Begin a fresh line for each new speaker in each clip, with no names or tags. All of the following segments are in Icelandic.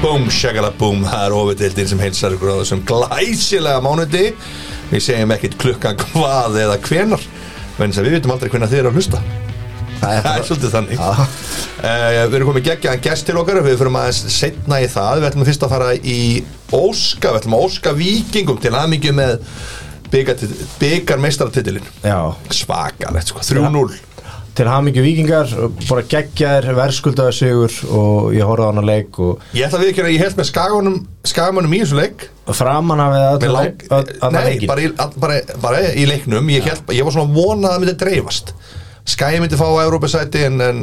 Búm, shagalabúm, það er ofurdeildin sem heilsar ykkur á þessum glæsilega mánuði Við segjum ekkit klukkan hvað eða hvenar Venns að við vitum aldrei hvenar þið eru að hlusta
Það
Það er
bara-
svolítið þannig
Já.
uh, Við erum komið geggjaðan gest til okkar Við fyrum aðeins setna í það Við ætlum fyrst að fara í Óska Við ætlum að Óska vikingum til aðmyggju með byggarmeistaratitilin
Já,
Svakalegt, sko, 3-0
til hamingju vikingar bara geggjaðir, verðskuldaði sigur og ég horfði á hana leik og
Ég ætla að við ekki að ég held með skagamönnum skagamönnum í þessu leik
framan af eða
Mig
öllu
lang,
leik- öll- alla
nei,
leiki.
bara í, all- bara, bara í leiknum ég, held, ég var svona að vona að það myndi dreifast Skæði myndi fá Európa-sæti en, en,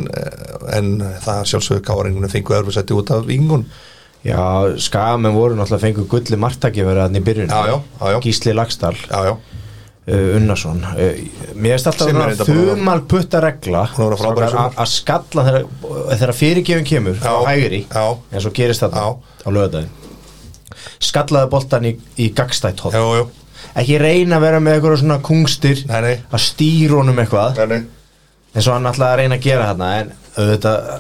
en það sjálfsögur káringunum fengu Európa-sæti út af yngun
Já, skamenn voru náttúrulega fengu gulli marktaki verið þannig í byrjun
Já, já, já, já.
Gísli Lagstall,
Já, já,
uh, Unnarsson uh, Mér finnst alltaf
Sem er
að
þetta
vera
bara-
þumal putta regla
Hún er að frábæra í
strákar,
sumar.
að- að skalla þegar, þegar fyrirgefin kemur
Já,
á hægri,
já.
en svo gerist þetta
Já.
á lögadaginn Skallaði boltan í, í gagstætt hótt
já, já,
Ekki reyna að vera með eitthvað svona kungstir
Nei, nei.
að stýra honum eitthvað
já, nei.
eins og hann alltaf að reyna að gera þarna en auðvitað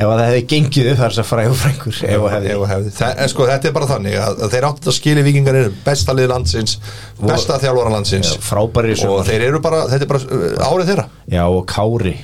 ef að það hefði gengið upp þar þess að fræðu frængur ef að hefði
Ef og hefði. Þa, en sko, þetta er bara þannig að, að þeir áttu þetta skili vikingar eru besta lið landsins besta þjálfara landsins
frábæri
og þeir eru bara, þetta er bara uh, árið þeirra
já og Kári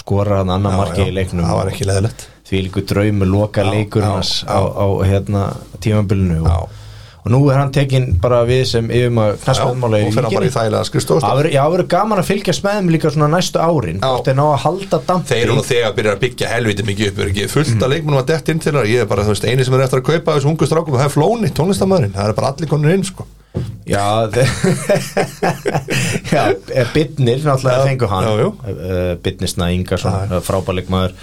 skora hann annar marki í leiknum
það var ekki leðilegt
því líku draumi loka
Já,
leikur
já,
hans
já.
á, á hérna tímambilinu
Já.
og, og nú er hann tekin bara við sem yfum að
Já, og
knastmæðmála
fer hann bara í þægilega skrifstofustaf
Það verður- já, það verður gaman að fylgjast með þeim líka svona næstu árin
Já.
hvort þeir ná að halda dampi
Þeir eru nú þegar að byrja að byggja helviti mikið upp er ekki fullt
Mm.
að leikmennum að dett inn til þeirra ég er bara, þú veist, eini sem er eftir að kaupa þessu ungu strákum það er Flóni, tónlistamæðurinn, það er bara allir konur inn sko.
Já, já Bitnir náttúrulega
Já,
fengu hann
já, já.
Eh, Birnir eh, Snæ Ingarsson, frábæleikmaður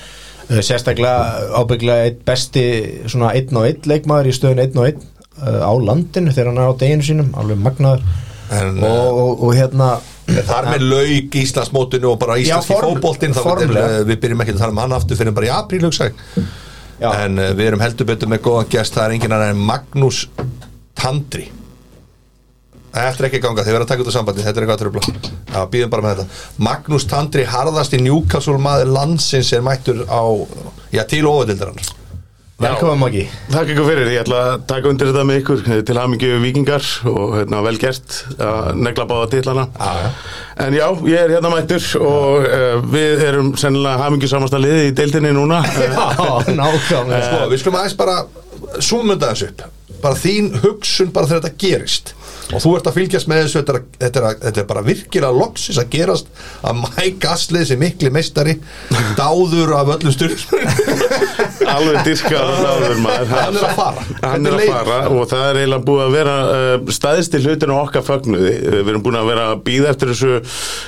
Eh, Sérstaklega ábygglega eitt besti svona 1 og 1 leikmaður í stöðun 1 og 1 á landinu þegar hann er á deginu sínum alveg magnaður
En, eh,
og, og, og hérna
Þar með lauk Íslands mótinu og bara íslenski
form-
fótboltinn þá er,
formlega.
eh, við byrjum ekki að tala um hann aftur fyrir bara í apríl hugsa ég.
já,
en uh, við erum heldur betur með góðan gest það er enginn annar en Magnús Tandri Það eftir ekki að ganga, þið verða að taka út af sambandi, þetta er eitthvað tröfla. Já, býðum bara með þetta. Magnús Tandri, harðasti Newcastle maður landsins er mættur á, já, til ofadildarann.
velkomin Maggi
Takk ykkur fyrir, ég ætla að taka undir þetta með ykkur eh, til hamingju vikingar og hérna, vel gert að negla báða titlana
já.
En já, ég er hérna mættur og uh, við erum sennilega hamingju samasta liði í deildinni núna Eh,
Já, nákvæmlega
Sko, við skulum aðeins bara súmunda þessu upp bara þín hugsun bara þegar þetta gerist og þú ert að fylgjast með þessu þetta er, að- þetta er, að- þetta er bara virkilega loksis að gerast að Mike Asley sem mikli meistari dáður af öllum styrnum
Alveg dyrkaður áður maður
Hann er að fara. Þetta er
Hann er að
leið.
fara og það er eiginlega búið að vera uh, staðist í hlutinu okkar fögnuði Eh, Við erum búin að vera að býða eftir þessu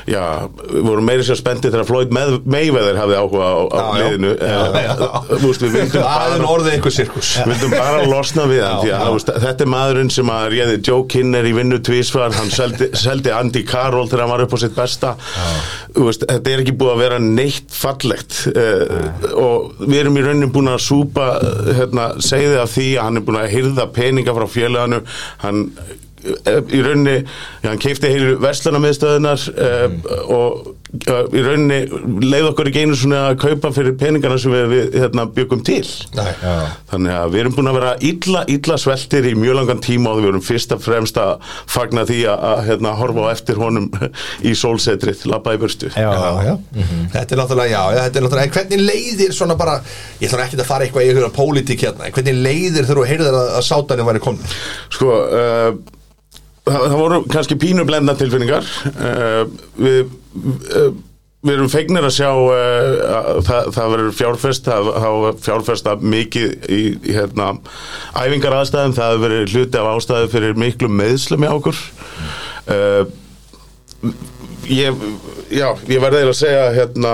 Já, við vorum meiri sér spendi þegar Floyd May- Mayweather hafði áhuga á, á
Já, já.
liðinu
Já, já.
Eh, þú veist, Við vildum
það er
bara
nú orðið einhver sirkus
Við vildum bara losna við hann því að þú veist, þetta er maðurinn sem að réði Joe Kinner í vinnu tvísvar, hann seldi, seldi Andy Carroll þegar hann var upp á sitt besta Þú veist, þetta er ekki búið að vera neitt fallegt uh, og við erum í rauninni búin að súpa eh, hérna, segði af því að hann er búin að hyrða peninga frá fjölaðanu hann eh, í rauninni, já, hann keipti heilu verslunarmiðstöðunar mm. og eh, í rauninni leið okkur ekki einu svona að kaupa fyrir peningana sem við, við hérna, byggum til
Nei.
Þannig að við erum búin að vera illa, illa sveltir í mjög langan tíma og við erum fyrst og fremst að fagna því að, að hérna, horfa á eftir honum í sólsetrið, labba í burstu.
Já,
Já, já. Þetta er náttúrulega, já, já, þetta er náttúrulega, en hvernig leiðir svona bara, ég þarf ekki að fara eitthvað í einhverja pólitík hérna, en hvernig leiðir þegar þú heyrðir að, að sátanum væri komin?
Sko, uh, það, það voru kannski pínu blenda tilfinningar. Uh, við, uh, við erum fegnir að sjá uh, að það, það verður fjárfest, það hafa fjárfesta mikið í, í hérna, æfingar aðstæðum, það hefur verið hluti af ástæðu fyrir miklu meðslum í okkur. Uh, ég, já, ég verði eiginlega að segja hérna,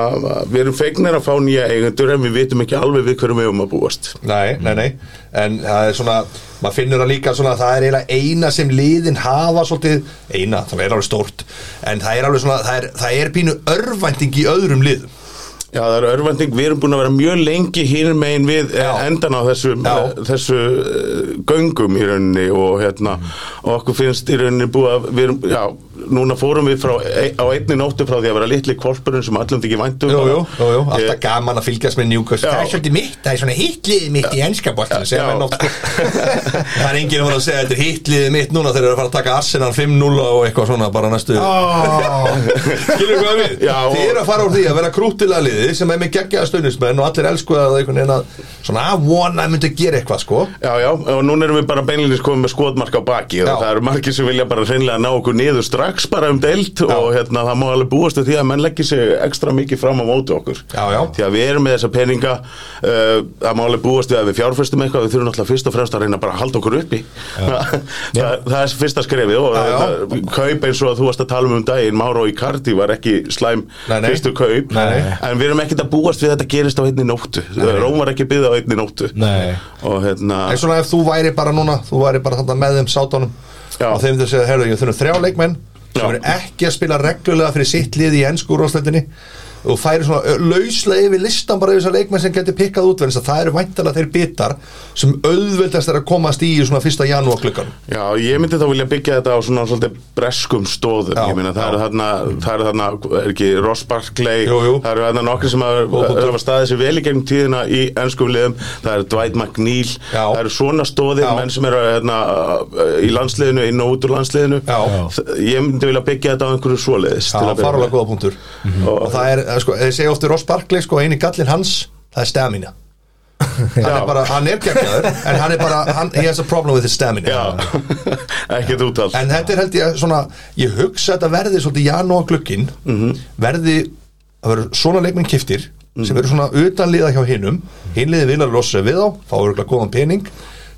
við erum feignir að fá nýja eigendur en við vitum ekki alveg við hverjum við um að búast
Nei, nei, nei, en það er svona maður finnur það líka svona, það er eiginlega eina sem liðin hafa svolítið eina, það er alveg stórt, en það er alveg svona, það er, það er pínu örvænting í öðrum liðum,
Já, það er örvending, við erum búin að vera mjög lengi hínum megin við já.
Já.
endan á þessu,
Já.
þessu
Mm.
eh, göngum í rauninni og hérna, og okkur finnst í rauninni búið að, við erum, já, núna fórum við frá, e, á einni nóttu frá því að vera litli kvolpurinn sem öllum þykir væntum
Jú, jú, jú, jú, alltaf
Eh,
gaman að fylgjast með Newcastle
um Já.
Það er svolítið mitt, það er svona hitliðið mitt í enska boltan
Já.
sko. Það er enginn að vera að segja Þetta er hitliðið mitt núna þegar þeir eru að fara að taka Arsenal 5-0 og eitthvað svona bara næstu Skilur hvað við?
Já, og-
Þið eru að fara úr því að vera krútilega liðið sem er með geggjaða stöðnismenn og allir elsku að einhvern veginn að svona að vona að myndu að gera eitthvað sko
Já, já, og núna erum við bara beinlinnis komið með skotmark á baki
Já.
og það eru margir sem vilja bara hreinlega ná okkur niður strax bara um deilt og hérna, það má alveg búast við því að menn leggir sig ekstra mikið fram á móti okkur
Já, já.
Því að við erum með þessa peninga uh, það má alveg búast við að við fjárfestum eitthvað við þurfum náttúrulega fyrst og fremst að reyna bara að halda okkur uppi það, það er fyrsta skrefið og
Já, já.
þetta kaup eins og að þú varst að tala um um daginn Máro í Kardi var ekki slæm
Nei, nei.
fyrstu kaup
Nei, nei.
en við erum ekkit að búast við að þetta gerist á einni nóttu Róm var ekki byggð á einni nóttu
Nei.
og hérna
En svona ef þú væri bara núna, þú væri bara þarna með þeim sátunum
Já.
og þeim þau segja, herru, ég þurfum þrjá leikmenn sem
Já.
eru ekki að spila reglulega fyrir sitt lið í ennsku úrvarsleitinni og færi svona ö, lauslega yfir listan bara yfir þessar leikmenn sem getur pikkað út verðins að það eru væntalega þeir bitar sem auðveldast er að komast í í svona fyrsta janúar klukkan
Já, ég myndi þá vilja byggja þetta á svona svolítið breskum stóðum,
Já,
ég meina það eru þarna, það eru þarna, er ekki Ross Barkley,
Jú, jú.
það eru þarna nokkri sem
punktur.
hafa staðið sér vel í gegnum tíðina í ennskum liðum, það eru Dwight McNeil,
Já.
það eru svona stóðir,
Já.
menn sem eru hérna, í landsliðinu, inn og út úr landsliðinu,
Já.
Þ- ég myndi vilja byggja þetta á einhverju svoleiðis.
Já,
til að byrja
farulega
með.
góða punktur
Mhm.
og það er, eh, sko, þeir segja ofti Ross Barkley sko, eini gallin hans, það er stamina hann er
Já.
bara, hann er geggjaður en hann er bara, hann, he has a problem with his stamina
Já, ekkert úttalt.
En þetta er held ég svona Ég hugsa að þetta verði svolítið janúar glukkin
Mhm.
Verði að vera svona leikmenn kiftir Sem eru svona utanliða hjá hinnum Hinnliði vilja losa sig við á Fá örgulega góðan pening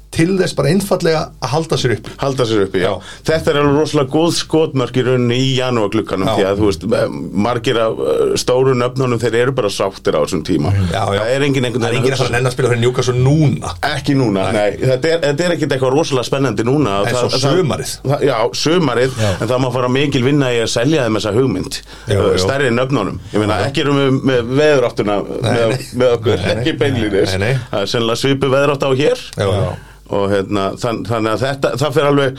Til þess bara einfallega að halda sér upp
halda sér uppi, já.
Já.
Þetta er alveg rosalega góð skotmörk í rauninni í janúarglukkanum
Já.
því að þú veist, eh, margir af uh, stóru nöfnunum þeir eru bara sáttir á þessum tíma.
Já, já.
Það er engin einhvern
Það er enginn að fara að
hugsa-
nenn að spila fyrir njúka svo núna
Ekki núna, nei, þetta er, þetta er ekkit eitthvað rosalega spennandi núna
En
Það-
svo
það-
sumarið.
það- Já, sumarið, en það má fara mikil vinna í að selja þeim þessa hugmynd
Jú,
uh,
jú.
Stærri nöfnunum, ég meina ekki erum við með veðuráttuna með,
nei.
með okkur,
Nei, nei.
ekki
Nei,
beinlýnis
nei.
Það er sennilega svipu veðurátt á hér
Já, já.
og hérna, þann, þannig að þetta, það fyrir alveg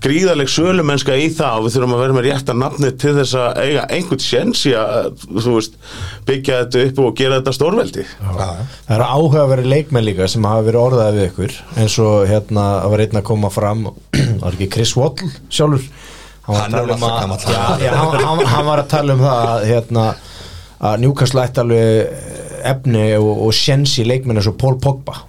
gríðaleg sölumennska í það og við þurfum að vera með rétta nafni til þess að eiga einhvern sjens í að þú veist, byggja þetta upp og gera þetta stórveldi
Já.
Það eru áhugaveri leikmenn líka sem hafa verið orðaði við ykkur eins og hérna það var einn að koma fram var ekki Chris Waddle sjálfur
Hann er
að tala um
alltaf
að-
gamall.
Já, já, hann, hann, hann var að tala um það að, hérna, að Newcastle ætti alveg eh, efni og, og sjens í leikmenn eins og Paul Pogba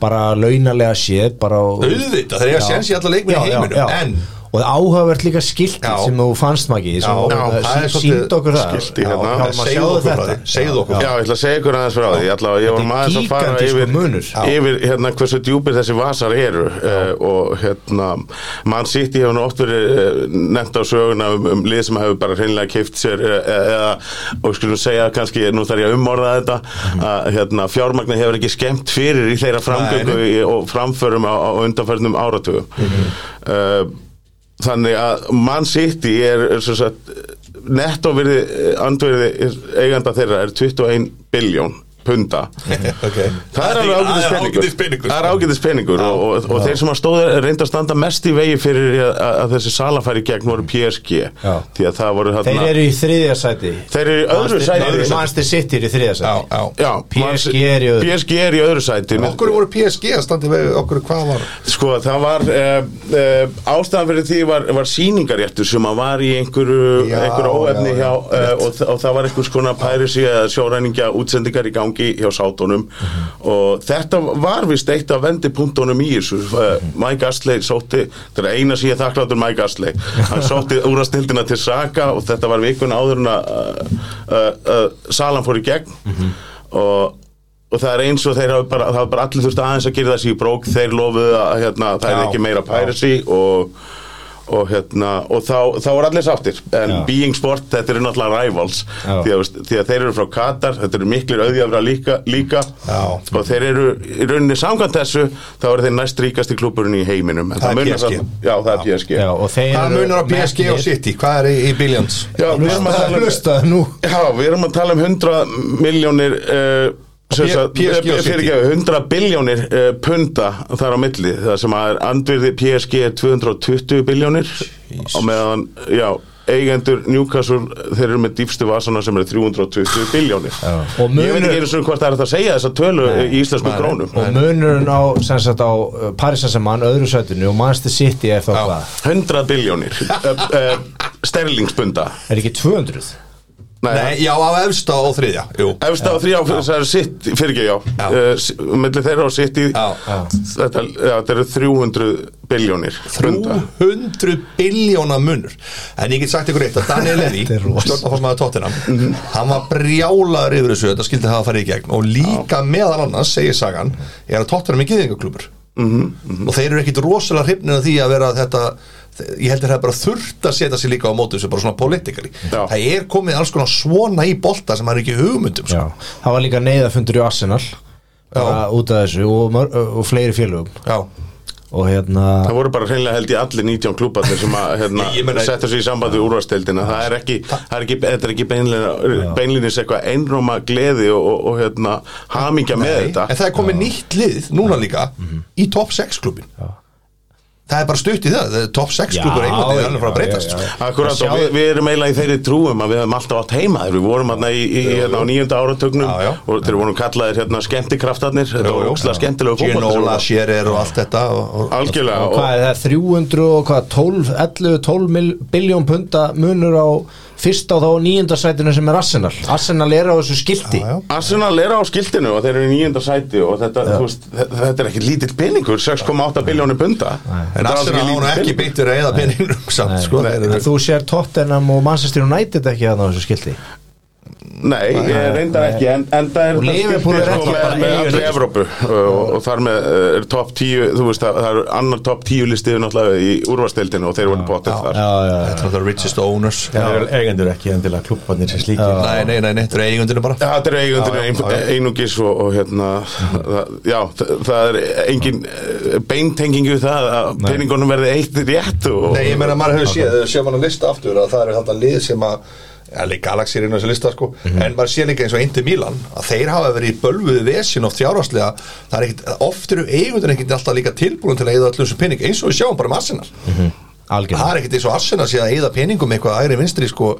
bara launalega séð bara á-
Auðvitað, þeir eiga
Já.
séns í alla leikmenn í
Já, já,
heiminum,
já.
en-
og það áhugavert líka skilti
Já.
sem þú fannst magi
Já, já, það er svolítið
sínd okkur það
skilti hérna.
Hjálmar,
Segðu
sjáðu
okkur frá því,
þetta.
segðu okkur frá
Já.
Já, ég ætla að segja ykkur aðeins frá því Ég ætla að ég
Þetta
var
er
maður að fara
gigantískur
yfir,
munur.
yfir hérna, hversu djúpir þessi vasar eru uh, og hérna mann sitt ég hefur nú oft verið uh, nefnt á söguna um, um lið sem hefur bara hreinlega keift sér uh, eða og skulum segja kannski, nú þarf ég að umorða þetta að hérna, fjármagni hefur ekki skemmt fyrir í þeirra framgöngu
Nei,
í- og framförum á, á undanförnum áratugum
Mhm.
uh, þannig að Man City er, er sem sagt, nettóverði andverði eiganda þeirra er 21 biljón punda
Ok.
Það er alveg ágætis peningur.
peningur
Það er ágætis peningur og, og, og þeir sem að stóðu reynda að standa mest í vegi fyrir að, að- að þessi sala færi gegn voru PSG
Já.
því að það voru
Þeir eru í þriðja sæti
þeir eru í öðru sæti
Manchester City er í
Já,
þriðja sæti
já
Já,
PSG er í öðru.
PSG er í öðru sæti með-
Okkur voru PSG að standi vegið, okkur hvað var
Sko, það var uh, uh, ástæðan fyrir því var, var síningaréttur sem að var í einhverju,
Já,
einhverju óefni
já,
hjá
já,
uh, og, þa- og það var einhvers konar pærisi eða sjóræningja útsendingar í gangi hjá sátunum og þetta var vist eitt af vendipunktunum í þessu uh, Mike Astley sótti, þetta er eina síðan þakklátur Mike Astley, hann sótti úrastildina til Saka og þetta var vikun áður en að uh, uh, uh, salan fór í gegn og og það er eins og þeir hafa bara, það hafa bara allir þurft aðeins að gera þessi í brók þeir lofuðu að hérna, það er
Já.
ekki meira piracy og, og, hérna, og þá, þá er allir sáttir en
Já.
Being Sport, þetta eru náttúrulega rivals því
Já.
að, veist, því að þeir eru frá Katar þetta eru miklir auðjafra líka, líka
Já.
og þeir eru í rauninni samkvæmt þessu þá eru þeir næst ríkasti klúburinn í heiminum En
Það er
munar
PSG.
samt- Já, það er PSG
Já, og þeir
Hvað
eru
munar á PSG og
metnir-
City, hvað er í, í Billions
Já, við erum að
Hlustaðu,
um- tala um
Hlustaðu nú
Já, við erum að tala um 100 miljónir uh, sem
P-
sagt,
PSG og
eh,
City.
fyrirgefðu, 100 biljónir uh, punda þar á milli það sem að er andvirði PSG er 220 biljónir á meðan, já, eigendur Newcastle, þeir eru með dýpstu vasana sem eru 320 biljónir
Og
ég veit
munur-
ekki einu svona hvort það er hægt að segja þessa tölu í íslensku krónum
og munurinn á, sem sagt, á uh, Paris Saint-Germain öðru sætinu og Manchester City er þá
Já.
hvað
100 biljónir uh, uh, sterlingspunda
er ekki 200
Nei, já, á efsta og þriðja Jú,
Efst á þrjá, það er sitt, fyrir ekki, já,
Já.
já. Uh, millir þeirra og sitt í,
Já, já.
þetta, já, þetta eru 300 biljónir.
300 biljóna munur En ég get sagt ykkur eitt að Daniel Levy
Þetta er rosa.
Stjórnarforsmaður Tottenham Hann var brjálaður yfir þessu Þetta skildi hafa farið í gegn Og líka meðal annars, segir sagan Er að Tottenham er gyðingaklubur Og þeir eru ekkit rosalega hrifnir af því að vera þetta Ég held að það er bara þurft að setja sig líka á móti þessu bara svona politikali
Já.
Það er komið alls konar svona í bolta sem hann er ekki hugmyndum sko.
Já. það var líka neyðafundur í Arsenal uh, út af þessu og, mör- og fleiri félögum
Já.
og hérna
Það voru bara hreinlega held í allir 19 klúbarnir sem að hérna,
Ég meina-
setja sig í sambandi við úrvasteldina. Það er ekki, það er ekki, þetta er ekki beinlinnis, beinlinnis eitthvað einróma gleði og, og, og hérna, hamingja með
Nei,
þetta.
En það er komið nýtt lið núna líka
Mhm.
í top 6 klubin Það er bara stutt í það, það er top 6
Já,
klubur Englandi
já,
er alveg frá að
já,
breytast
já, já.
Akkurat
Sjá-
og við, við erum eiginlega í þeirri trúum að við höfum alltaf átt heima þegar við vorum hérna í, í hérna á nýjunda áratögnum
Já, já.
og þeir vorum kallaðir hérna skemmtikraftarnir þetta var ókslega skemmtilegu
Ginola,
fókbalt
Scherer og allt þetta og, og,
Algjörlega
og hvað er það 300 og hvað 12, 11, 12 mil, biljón punta munur á fyrsta og þá nýjunda sætinu sem er Arsenal Arsenal er á þessu skilti
Já, já.
Arsenal er á skiltinu og þeir eru í nýjönda sæti og þetta, þú veist, þe- þetta er ekki lítill peningur 6,8 biljónu bunda
En Arsenal á hún ekki beint verið að eða peningum samt,
Nei,
sko
en þú sér Tottenham og Manchester United ekki þarna á þessu skilti
Nei, ég reyndar ekki en, en það er
Og
þetta
Liverpool er
skilti,
ekki
sko,
bara
með, með
eigin-
allri Evrópu uh, og, og þar með uh, er top 10 þú veist, það, það er annar top 10 listið náttúrulega í úrvasteldinu og þeir voru bóttið þar
Þetta er náttúrulega richest owners
Það eru eigendur ekki endilega klubbarnir sem slíkir
Nei, nei, nei, nei, þetta eru eigundinu bara
Já, þetta er eigundinu
Já, já,
ein,
já, Mhm. já.
einungis og, og hérna það, já, það, það er engin eh, beintenging við það að peningunum verði eitt rétt og,
Nei, ég meina maður hefur séð, þegar séð mann að lista aftur að það eru þetta lið sem að ja, leik Galaxy er inn á þessu lista sko en maður séð líka eins og Indi Milan að þeir hafa verið í bölvuðu vesin oft fjárhastlega það er ekkit, oft eru eigundur ekkit alltaf líka tilbúin til að eyða allir þessu pening eins og við sjáum bara um Arsenal það
algjörlega
er ekkit eins og Arsenal sé að eyða peningum eitthvað ægri vinstri sko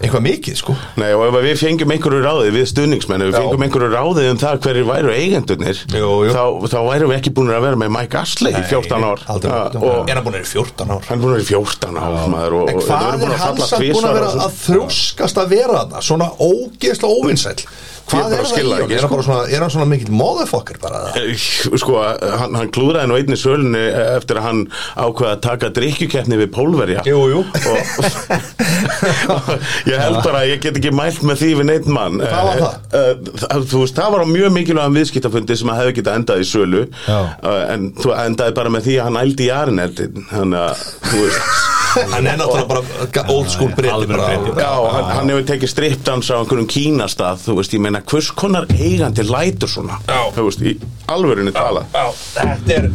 eitthvað mikið sko
Nei, og ef við fengjum einhverju ráðið við stuðningsmenn, ef við
Já.
fengjum einhverju ráðið um það hverjir væru eigendurnir
Jú, jú.
Þá, þá værum við ekki búin að vera með Mike Ashley í 14 ár
aldrei,
Ja,
er
og
hann búin að vera í 14 ár
hann er búin að vera í 14 ár maður, og,
En
og þetta
hvað
verður
er
búin að
hans
falla
að búin að
tvisvar
vera
og svo-
að þrjóskast að vera þarna svona ógeðslega óvinsæll hvað
bara
er það í
skil það
honum?
ekki, sko.
Er hann bara svona- er hann svona mikill motherfucker bara það?
Eh, sko, hann, hann klúðraði nú einni sölunni eh, eftir að hann ákvaði að taka drikkjukeppni við pólverja
Jú, jú.
og, og ég held bara að ég get ekki mælt með því við neitt mann
Hvað var það?
Eh, það, þú veist, það var á mjög mikilvægum viðskiptafundi sem að hefði getað endað í sölu
Já.
Eh, en þú endaði bara með því að hann ældi í arineldi þannig að, þú veist
hann er náttúrulega bara ga- old school breyti
alvöru Breti,
bara
Já, hann, hann hefur tekið strippdans á einhverjum kínastað, þú veist, ég meina, hvers konar eigandi lætur svona,
Já.
þú veist, í alvörunni talað.
Já, þetta er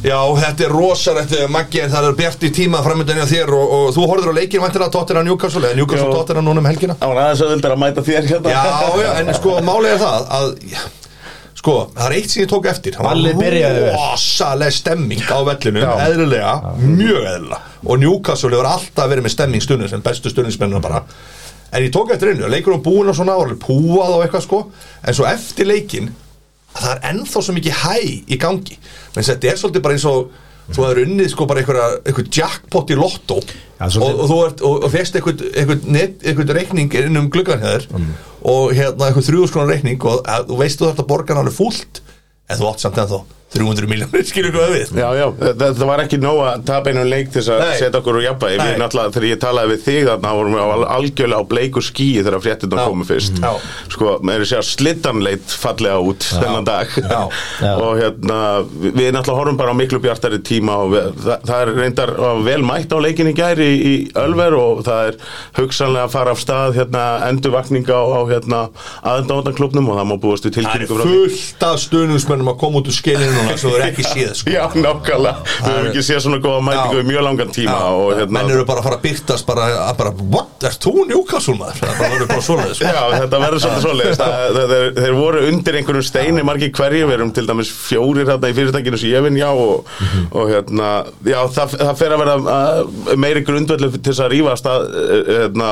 Já, þetta er rosalegt, eh, Maggi, en það er bjart í tíma framöndan hjá þér og, og þú horfður á leikir vantilega Tottenham Newcastle, eða Newcastle
Já.
Tottenham núna um helgina
Það var aðeins auðvitað að mæta þér hérna.
Já, já, en sko, málið er það að já, sko, það er eitt sem ég tók eftir það
Valli byrjaði vel.
var rosaleg stemming á vellinu, eðlilega mjög eðlilega, og Newcastle hefur alltaf verið með stemming stundin sem bestu stundinsmennina bara en ég tók eftir einu, leikur um búin og svona og alveg púað og eitthvað sko en svo eftir leikin, að það er ennþá svo mikið hæ í gangi menn þetta er svolítið bara eins og þú hefur unnið sko bara einhverja, einhver jackpot í lottó
Já,
og,
svolítið-
og þú ert og, og fyrst einhvern einhvern net- einhvern reikning inn um gluggan hér mm. og hérna einhvern þrjúðskonar reikning og að, þú veist þú þarft að borga hann alveg fúlt en þú átt samt ennþá 300 miljónir skilur hvað við
Já, já, það, það var ekki nóg að tapa einum leik til þess að
Nei.
setja okkur úr jafnvægi Við
Nei.
náttúrulega, þegar ég talaði við þig þarna vorum við á al- algjörlega á bleiku skíi þegar fréttina
Já.
komu fyrst
Já.
Sko, maður er að segja slittan leit fallega út þennan dag
Já.
Já.
Og hérna, við, við náttúrulega horfum bara á miklu bjartari tíma og við, það, það er reyndar var vel mætt á leikin í gær í, í Ölver og það er hugsanlega að fara af stað hérna endurvakninga á, á hérna aðdóðanklubnum og það má búast við
Það er
tilkynningu frá því.
fullt af stundinsmennum að koma út úr skilinu núna sem þú er ekki séð sko.
Já, nákvæmlega, við höfum ekki séð svona góða mætingu
Já.
í mjög langan tíma
Já,
og hérna
menn eru bara að fara að byrtast bara, að bara what, er þú Newcastle maður það er bara, verður bara svoleiðis sko.
Já, þetta verður svolítið svoleiðis Það- það- þeir, þeir voru undir einhverjum steini margir hverjir, við erum til dæmis fjórir þarna í fyrirtækinu sem ég vinn já og, og hérna, já, það, það fer að vera að, meiri grundvöldu til þess að rífa stað, hérna,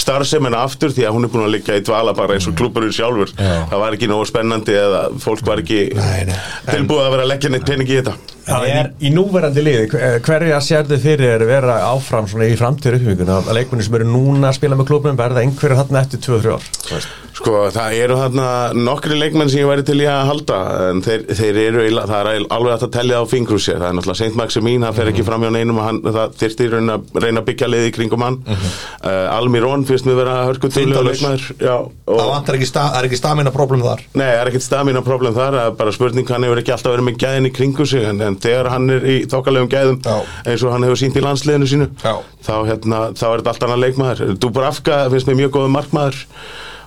starfsemin aftur því að hún er búin að liggja í dvala bara
Mm.
eins og klubburinn sjálfur
Já.
það var ekki nógu spennandi eða fólk var ekki
Nei, nei.
tilbúið að vera að leggja neitt pening í þetta
Það er í núverandi liði, hver- hverja sérðu fyrir er vera áfram svona í framtíður uppbyggjuna að leikmunni sem eru núna að spila með klubnum verða einhverju hann eftir 2-3 ár Þú veist.
Sko, það eru þarna nokkri leikmenn sem ég væri til í að halda en þeir, þeir eru, eiginlega- það er eiginlega alveg hægt að tellja á fingrú sér, það er náttúrulega Saint Maximin það fer ekki fram hjá neinum og hann, það þyrfti í raun að reyna að byggja liði í kringum hann mm -hmm. uh, Almirón finnst mér vera hörkutulega
Þindalaus.
leikmær Já,
það
og,
vantar ekki, sta, það er ekki stamina problem þar
Nei, það er ekkert stamina problem þar það er bara spurning hann hefur ekki alltaf verið með gæðin í kringu sig en, en þegar hann er í þokkalegum gæðum
Já.
eins og hann hefur sínt í landsliðinu sínu
Já.
þá, hérna, þá er þetta allt annað leikmaður Dubravka finnst mér mjög góðum markmaður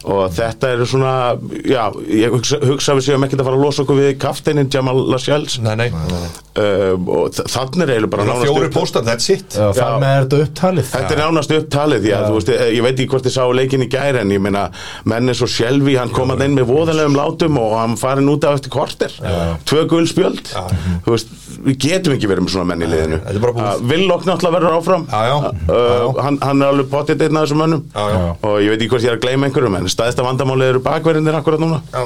og þetta eru svona já, ég hugsa, hugsa að við séum ekkert að fara að losa okkur við kafteinin Jamal Lascelles uh,
nei, nei, nei.
og þ- þannig er eiginlega bara nánast
fjóri
upp-
póstar, that's it
Já, þar
Já.
með er þetta upptalið
Þetta er nánast upptalið, já, þú veist, eh, ég veit ekki hvort þið sá leikin í gæri en ég meina, menn eins og Sjelvi, hann kom að inn með voðalegum látum og hann farin út af eftir korter, tvö gul spjöld, þú veist, við getum ekki verið með svona menn í liðinu.
þetta er bara búið.
Villokk náttúrulega verður áfram,
Já, já.
Uh, Hann, hann er alveg potið einn af þessum mönnum
Já, já.
og ég veit ekki hvort ég er að gleyma einhverjum en staðista vandamálið eru bakverðinir akkurat núna.
Já.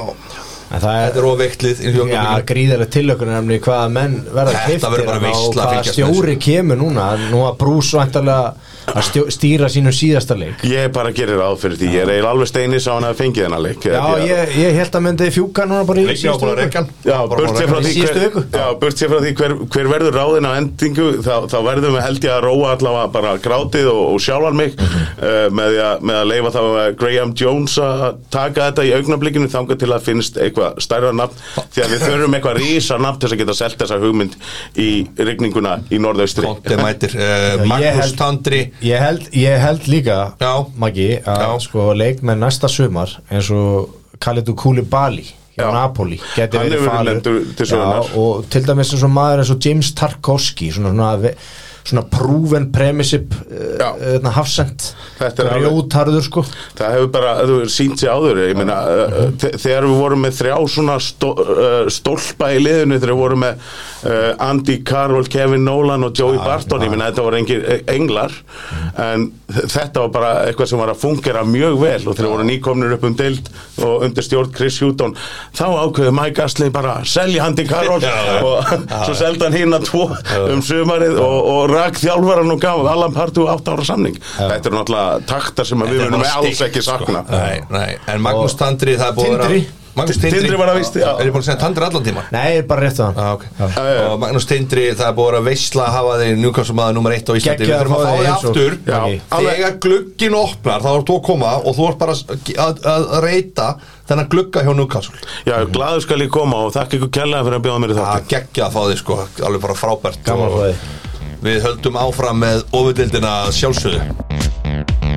En það
þetta
er
er óveiklið
Já, gríðarlega tilökunar nefni hvaða menn verða
Þetta
keyptir
verður bara
þarna og
veisla að
hvaða
fylgjast með
stjóri kemur núna Nú að brús vantarlega að stjó, stýra sínum síðasta leik
Ég bara gerir ráð fyrir því, ég er eiginlega alveg steinis á hann að fengið hennar leik.
Já, ég, ég held að myndi fjúka núna bara í
líka á búin að
viku.
reykan
Já, burt sér frá
Í
því
síðustu
hver,
viku.
já, burt sér frá því hver, hver verður ráðin á endingu þá, þá verðum við held ég að róa allavega bara grátið og, og sjálfan mig
Mhm.
mm með, því að, með að leifa þá eh, Graham Jones að taka þetta í augnablikinu þangað til að finnst eitthvað stærra nafn því að við þurfum eitthvað rísa nafn til þess að geta selt þessa hugmynd í rigninguna í norðaustri
Konte mætir, eh,
ég
Magnús
held-
Tandri
Ég held, ég held líka,
Já.
Maggi, að
Já.
sko, leikmenn næsta sumar eins og Khalidou Koulibaly hjá
Já.
Napoli geti
Hann
verið
hefur verið
falur
nefndur til
Já,
sögunnar.
og til dæmis eins og maður eins og James Tarkovsky svona, svona, ve- svona proven premissip
Já.
uh, hafsend
Þetta er alveg-
rjóðtarður sko
Það hefur bara þú, hefur sýnt sér áður ég meina, uh, þe- þegar við vorum með þrjá svona stó, uh, stólpa í liðinu þegar við vorum með uh, Andy Carroll, Kevin Nolan og Joey Barton ég meina þetta voru engir eh, englar en þ- þetta var bara eitthvað sem var að fungera mjög vel og þegar við vorum nýkomnir upp um deild og undir stjórn Chris Hutton þá ákveði Mike Astley bara að selja Andy Carroll
Já, já.
og svo seldi hann hinn að tvo um sumarið og, og rak þjálfaran og gaf Alan Partu átt ára samning þetta eru náttúrulega taktar sem að við
Þetta er
munum
bara
alls
stikk,
ekki
sko.
sakna
Nei, nei, en Magnús Tandri það er búið að
Tindri.
vera Magnús Tindri,
Tindri var að víst, já.
Er ég búin að segja Tandri allan tíma?
Nei, er bara rétt að hann
Ah, okay. Og Magnús Tindri, það er búið að vera veisla að hafa þig njúkvæmsum maður nummer eitt á Íslandi
Geggjað
Við þurfum
að
að fá
fá þig
þig
eins og-
aftur
Já.
Þegar glugginn opnar þá er þú að koma og þú ert bara að, að, að reyta þennan glugga hjá njúkvæmsul
Já, glaður skal ég koma og þakka ykkur kærlega fyrir að bjóða mér í
Það
þetta
geggja að fá þig sko, alveg bara frábært
Gaman að fá þig.
Og Við höldum áfram með ofudildina sjálfsögðu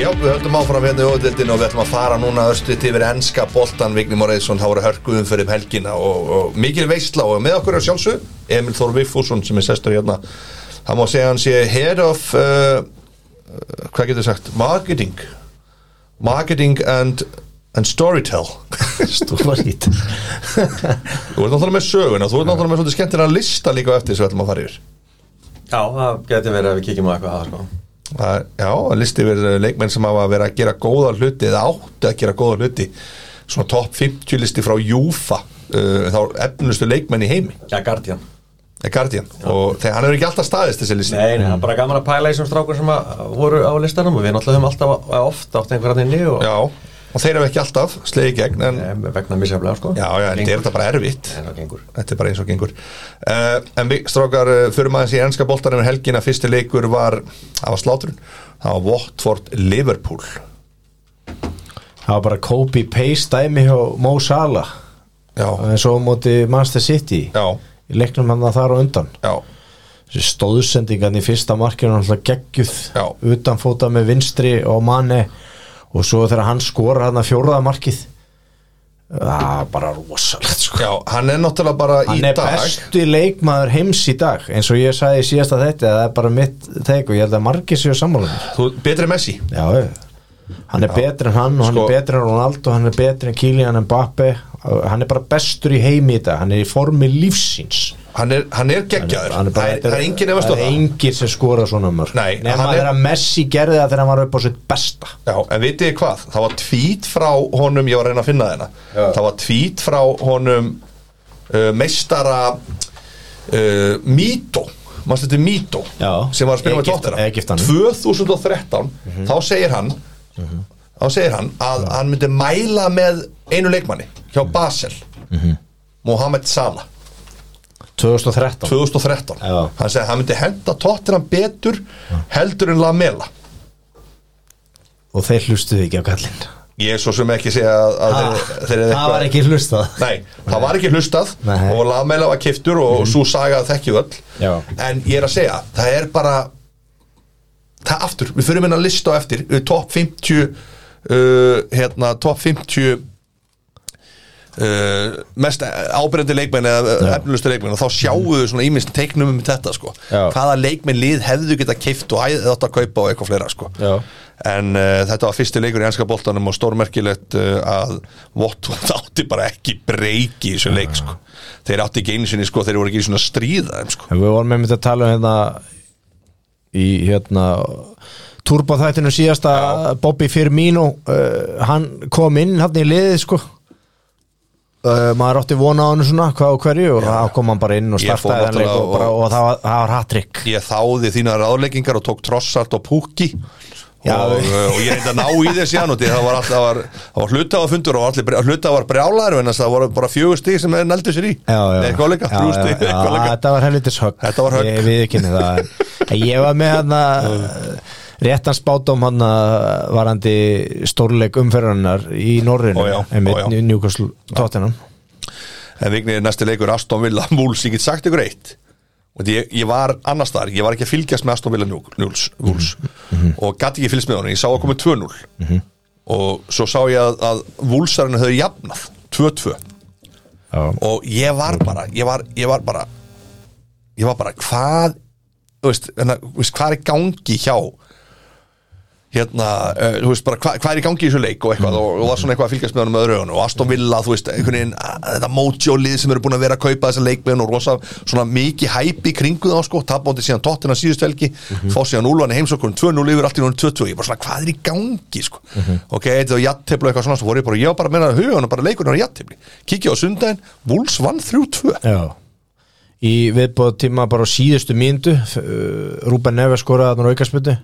Já, við höldum áfram hérna í ofudildinu og við ætlum að fara núna östuðt yfir enska boltan Vigni Moreðsson, þá voru hörkuðum fyrir um helgina og, og mikil veistla og með okkur er sjálfsögðu Emil Þór Viffússon sem er sestur hérna Það má segja hann sé head of uh, uh, hvað getur sagt, marketing marketing and, and storytell
Stórskýtt
Þú ert náttúrulega með söguna, þú ert náttúrulega með svolítið skemmtilega lista líka á eftir sem við ætlum að fara yfir
Já, það getur verið að við kíkjum á eitthvað að sko.
Það er- Já, listi verið leikmenn sem hafa verið að gera góða hluti eða áttu að gera góða hluti svona topp 50 listi frá Júfa uh, þá efnustu leikmenn í heimi
Já, Guardian
The Guardian og þegar hann hefur ekki alltaf staðist þessi listi
Nei, nei, það er bara gaman að pæla í þessum strákur sem að voru á listanum og við náttúrulega höfum alltaf að oft átt einhverjarni inni og
Já, og þeir hafa ekki alltaf slegið í gegn en,
Em, vegna misjaflega sko
já, já, en þetta er
Gengur.
þetta bara erfitt
En það gengur
Þetta er bara eins og gengur uh, En við strákar uh, fyrir maður þessi ennska boltanum um helgina fyrsti leikur var, það var slátrun það var Watford Liverpool
Það var bara copy-paste dæmi hjá Mo Salah
Já,
en svo á móti Manchester City
já,
í leiknum hann þar og undan
já,
Þessi stóðsendingan í fyrsta markinu hann alltaf geggjuð
Já.
utanfóta með vinstri og manni og svo þegar hann skora hann að fjórða markið það er bara rosalegt sko.
Já, hann er náttúrulega bara
hann
í
er
dag
besti leikmaður heims í dag eins og ég sagði í síðasta þetta það er bara mitt teg og ég held að margir séu sammála mér.
Þú, betri en Messi
já, já. hann er betri en hann og hann
Sko-
er betri en Ronaldo hann er betri en Kylian Mbappe hann er bara bestur í heimi í dag hann er í formi lífsins
Hann er, hann er geggjaður
hann
Það
er bara,
er- það er engin efast á
það er
það
engin sem skora svona mörg
Nei,
nema
hann er-
þegar að Messi gerði það þegar hann var upp á sitt besta
Já, en vitið þið hvað, það var tvít frá honum, ég var að reyna að finna þeirna
Já.
Það var tvít frá honum uh, meistara uh, Mito Manstu þetta er Mito
Já.
sem var að spila með
Egypt- Mhm.
tóttina
Egyptanum.
2013, þá segir hann þá segir hann að hann myndi mæla með einu leikmanni hjá
Mhm.
Basel Mohamed Salah
2013
2013
Já.
hann segi að hann myndi henda tóttina betur heldur en Lamela
og þeir hlustuðu ekki á kallinn
ég svo sem ekki segja að, að þeir, þeir
það var ekki hlustað
Nei, það var ekki hlustað
Nei. Mhm.
og Lamela var kiftur og mm. svo saga þekkju öll
Já.
en ég er að segja, það er bara það aftur, við fyrir minna að lista á eftir uh, top 50 uh, hérna, top 50 Uh, mest ábyrjandi leikmenn eða efnilustu leikmenn og þá sjáu þau svona ímist teiknum um þetta sko
Já.
hvaða leikmenn lið hefðu geta keift og æði þetta að kaupa og eitthvað fleira sko
Já.
en uh, þetta var fyrsti leikur í ennska boltanum og stórmerkilegt uh, að Votvot átti bara ekki breyki í þessu leik sko þeir átti ekki einu sinni sko, þeir voru ekki í svona stríða þeim, sko.
En við vorum einmitt að tala um hérna í hérna turbóþættinu síðasta Bobby Firmino uh, hann kom inn hann í liðið sko uh, maður átti vona á hann svona hvað og hverju og þá kom hann bara inn og
Ég fór
startaði hann leik og,
náttúrulega
bara,
og-
og það var, það var hattrykk
ég þáði þína ráðleggingar og tók trossart og púki
Já,
og,
við-
uh, og ég reyndi að ná í þessi hann og því það var, alltaf, það var, það var hlutafafundur og allir hlutafar brjálæður en það voru bara fjögur stig sem þeir nældu sér í Nei, eitthvað leika, þrjú stig eitthvað leika.
þetta var helvitis högg
Þetta var högg.
ég við ekki það en ég var með hann
Mm.
réttan spátum hann varandi stórleik umferðarinnar í
Ó,
Norrinu
já, ó, já.
einmitt Newcastle Tottenham
en vignir næsti leikur Aston Villa Múls, ég get sagt ykkur eitt og því ég, ég var annars þar, ég var ekki að fylgjast með Aston Villa Núls Múls og gæti ekki fylgst með honum, ég sá að komið 2-0 og svo sá ég að, að Múlsarinn höfðu jafnað 2-2
Já.
og ég var bara ég var, ég var bara ég var bara hvað þú veist, hana, veist, hvað er í gangi hjá hérna uh, þú veist bara hvað, hvað er í gangi í þessu leik og eitthvað og, og var svona eitthvað að fylgjast með honum með öðru augunum og Aston Villa þú veist einhvern veginn að- þetta mojo lið sem eru búin að vera að kaupa þessa leikmenn og rosa svona mikið hæpi kringu þá sko tapbóndi síðan tóttina síðust helgi fá síðan úlvan í heimsokkurinn 2-0 yfir allt í núna 2-2 ég bara svona hvað er í gangi sko ok, þetta var jattefla eitthvað svona svo voru ég bara ég var bara að meina hugan og bara leikurinn var jattefli kikið á sundaginn Wolves vann 3-2
Já Í viðbóð tíma bara á síðustu mínundu Rúben Neves skoraði hann á aukarsmyndu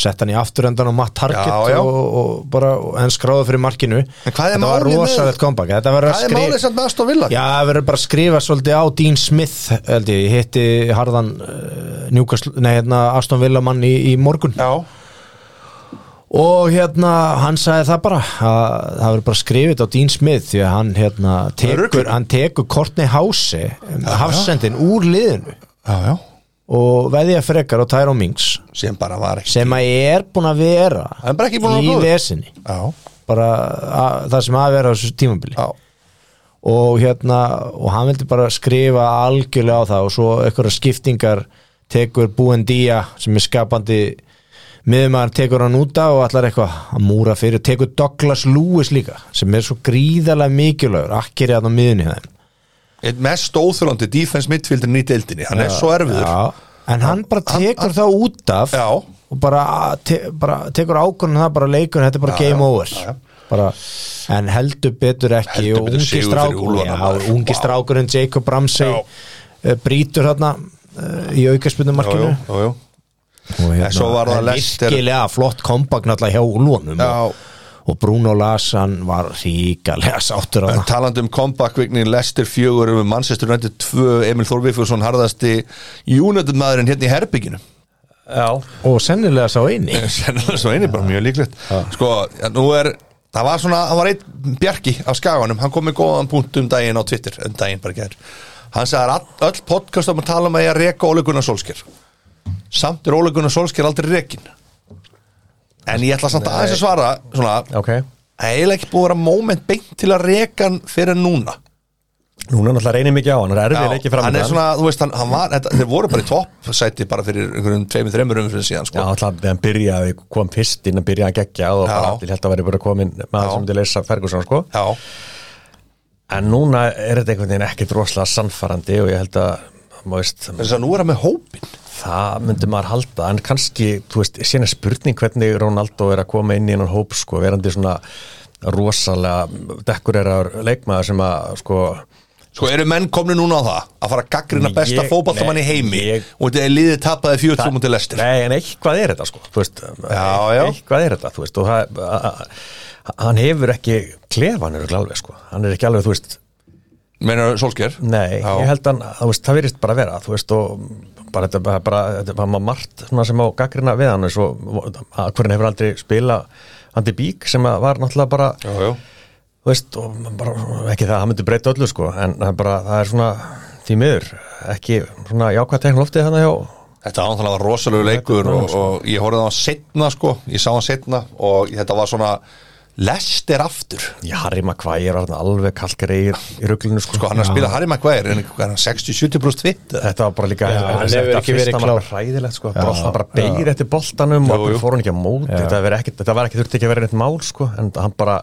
Sett hann í afturöndan og matt target
Já, já.
Og, og bara, og- en skráði fyrir markinu
hvað er
Þetta var
málið með-
rosalegt comeback Þetta var
Hvað er málið samt með Aston Villa?
Já, það verður bara að skrifa svolítið á Dean Smith held ég, ég hitti harðan uh, Newcastle, nei hérna Aston Villa mann í, í morgun
Já,
og hérna hann sagði það bara að það verður bara skrifið á Dean Smith því að hann hérna
Örugglega.
tekur, hann tekur Courtney House hafsendin úr liðinu
já, já
og veðja frekar á Tyrone Mings
sem bara var ekki
sem að er búin að vera
Hann er bara ekki búinn að vera
í
góður.
vesinni
Já,
bara að, það sem að vera á þessu tímabili
já,
og hérna og hann vildi bara skrifa algjörlega á það og svo einhverja skiptingar tekur Buendía sem er skapandi miðumar tekur hann út af og allar eitthvað að múra fyrir, tekur Douglas Lewis líka sem er svo gríðarlega mikilögur akkeri að á miðunni hjá þeim
eitt mest óþjólandi defense midfieldin í deildinni, hann er svo erfiður já.
Já, en hann bara tekur það út af
Já.
og bara, te, bara tekur ákvörðun um það bara leikur, þetta er bara game over
já, já.
Bara, en heldur betur ekki
Heldur betur
og ungi
sigur fyrir
strákur
Úlfana, maður.
já, ungi
Vá.
strákurinn Jacob Ramsey
Já.
uh, brýtur þarna uh, í
Jú,
aukaspunumarkinu
jú, jú, jú.
og
En svo
hérna-
var það
en
Leicester-
virkilega flott kompakt náttúrulega hjá úlunum
Já.
og, og Bruno Lars hann var ríkalega sáttur
En
þarna
talandi um comeback-vignin Lester fjögur um Manchester United 2 Emil Þorvifursson harðasti United maðurinn hérna í herbygginu
Já,
og sennilega sá eini
sennilega svo eini bara mjög líklegt sko, nú er það var svona, það var einn Bjarki af skaganum hann kom með góðan punkt um daginn á Twitter um daginn bara gerð hann sagði að öll podcast um að tala með ég að reka Óli Gunnar Solskjær samt er Óli Gunnar Solskjær aldrei rekin en ég ætla samt aðeins að svara svona
ok
það er eiginlega ekki búið að vera moment beint til að reka hann fyrir núna
Núna náttúrulega reynir mikið á hann, hann er erfið
hann
ekki
er
framöndan
svona, þú veist, hann, hann var þetta, þeir voru bara í topp sæti bara fyrir einhverjum tveimur, þreimur umfyrir síðan
Já,
sko.
alltaf hann byrjaði, kom fyrst inn að byrja að gegja og bara
Já.
allir held að væri bara komin með það
Já.
sem myndi leysa Ferguson sko
já,
En núna er þetta einhvern veginn ekkert rosalega sannfærandi og ég held að maður veist,
þess að nú er hann með hópin
það myndi maður halda en kannski, þú veist, síðan er spurning hvernig Ronaldo er að koma inn í hennan hóp sko, verandi svona rosalega dekkur er að leikmaður sem að sko,
Sko eru menn komni núna á það að fara að gaggrina
Ég-
besta fótballtamann í
nei,
heimi
ég-
og þetta er liðið tapaði
það-
fjöldrúm til lestir
Nei, en eitthvað er þetta sko, þú veist e-
Já, já.
eitthvað er þetta, þú veist og það, a- a- a- hann hefur ekki klefanur alveg sko, hann er ekki alveg, þú veist
Meinar Solskjær?
Nei,
Já.
ég held að þú veist, það virðist bara að vera þú veist, og bara þetta bara, bara, þetta bara maður margt svona sem á gaggrina við hann svo, að hvernig hefur aldrei spila Andy Bík sem að var náttúrulega bara
Já, já.
þú veist, og bara, ekki það, hann myndi breyta öllu sko, en það er bara, það er svona því miður, ekki svona jákvæð tekna loftið þannig hjá
Þetta var náttúrulega rosalegu leikur og, og ég horfði á hann setna sko, ég sá hann setna og þetta var svona lestir aftur
Já, Harry Maguire var þarna alveg kalkreir í rugglinu sko,
sko, hann er að spila Harry Maguire en er hann 60-70 brúst fitt
Þetta var bara líka
Já, hann hefur ekki verið
klár
klár.
Ræðilegt sko, bara, hann bara beir eftir boltanum og
Jú,
okkur
jú.
fór hann ekki að móti
Já.
þetta, var ekki, þetta var ekki þurfti ekki að vera neitt mál sko, en hann bara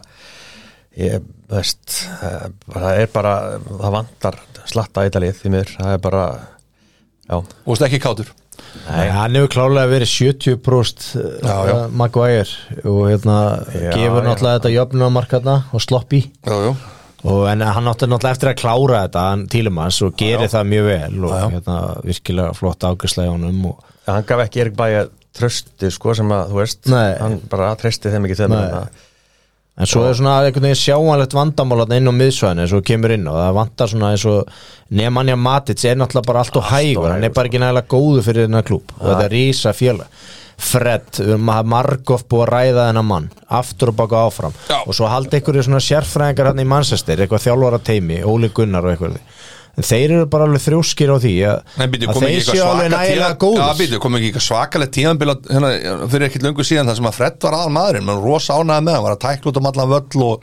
ég, veist, eh, bara- það er bara það vantar slatta í dalið því mér, það er bara já,
og veist ekki kátur
Nei, hann hefur klálega verið 70 próst
Já, já.
Maguire og hérna
Já,
gefur
já.
náttúrulega þetta jöfnumarkarna og sloppy
já, já.
og en hann átti náttúrulega eftir að klára þetta hann tílumanns og gerir það mjög vel og hérna virkilega flott ágæslega honum og
hann gaf ekki Erik Bæja trösti sko sem að, þú veist
Nei.
hann bara trösti þeim ekki þeim
Nei. en svo er svona einhvern veginn sjáanlegt vandamál þarna inn á miðsvæðinu eins og kemur inn og það vantar svona eins og Nemanja Matic er náttúrulega bara allt og hægur hann er bara
sko.
ekki nægilega góðu fyrir þennan klúb og þetta er rísa fjöla Fred, maður margof búið að ræða þennan mann aftur og baka áfram
Já.
og svo haldi einhverju svona sérfræðingar hann í Manchester eitthvað þjálfara teimi, Óli Gunnar og eitthvað en þeir eru bara alveg þrjóskir á því að,
Nei, býtu,
að
kom ekki
þeir
eitthvað
séu alveg
svaka
nægilega
tíma- Já,
góður
býtu, kom ekki eitthvað svakalegt tíðanbila hérna, fyrir ekkit löngu síðan þar sem að Fred var aðal maðurinn menn rosa ánæði með, hann var að tækla út um allan völl og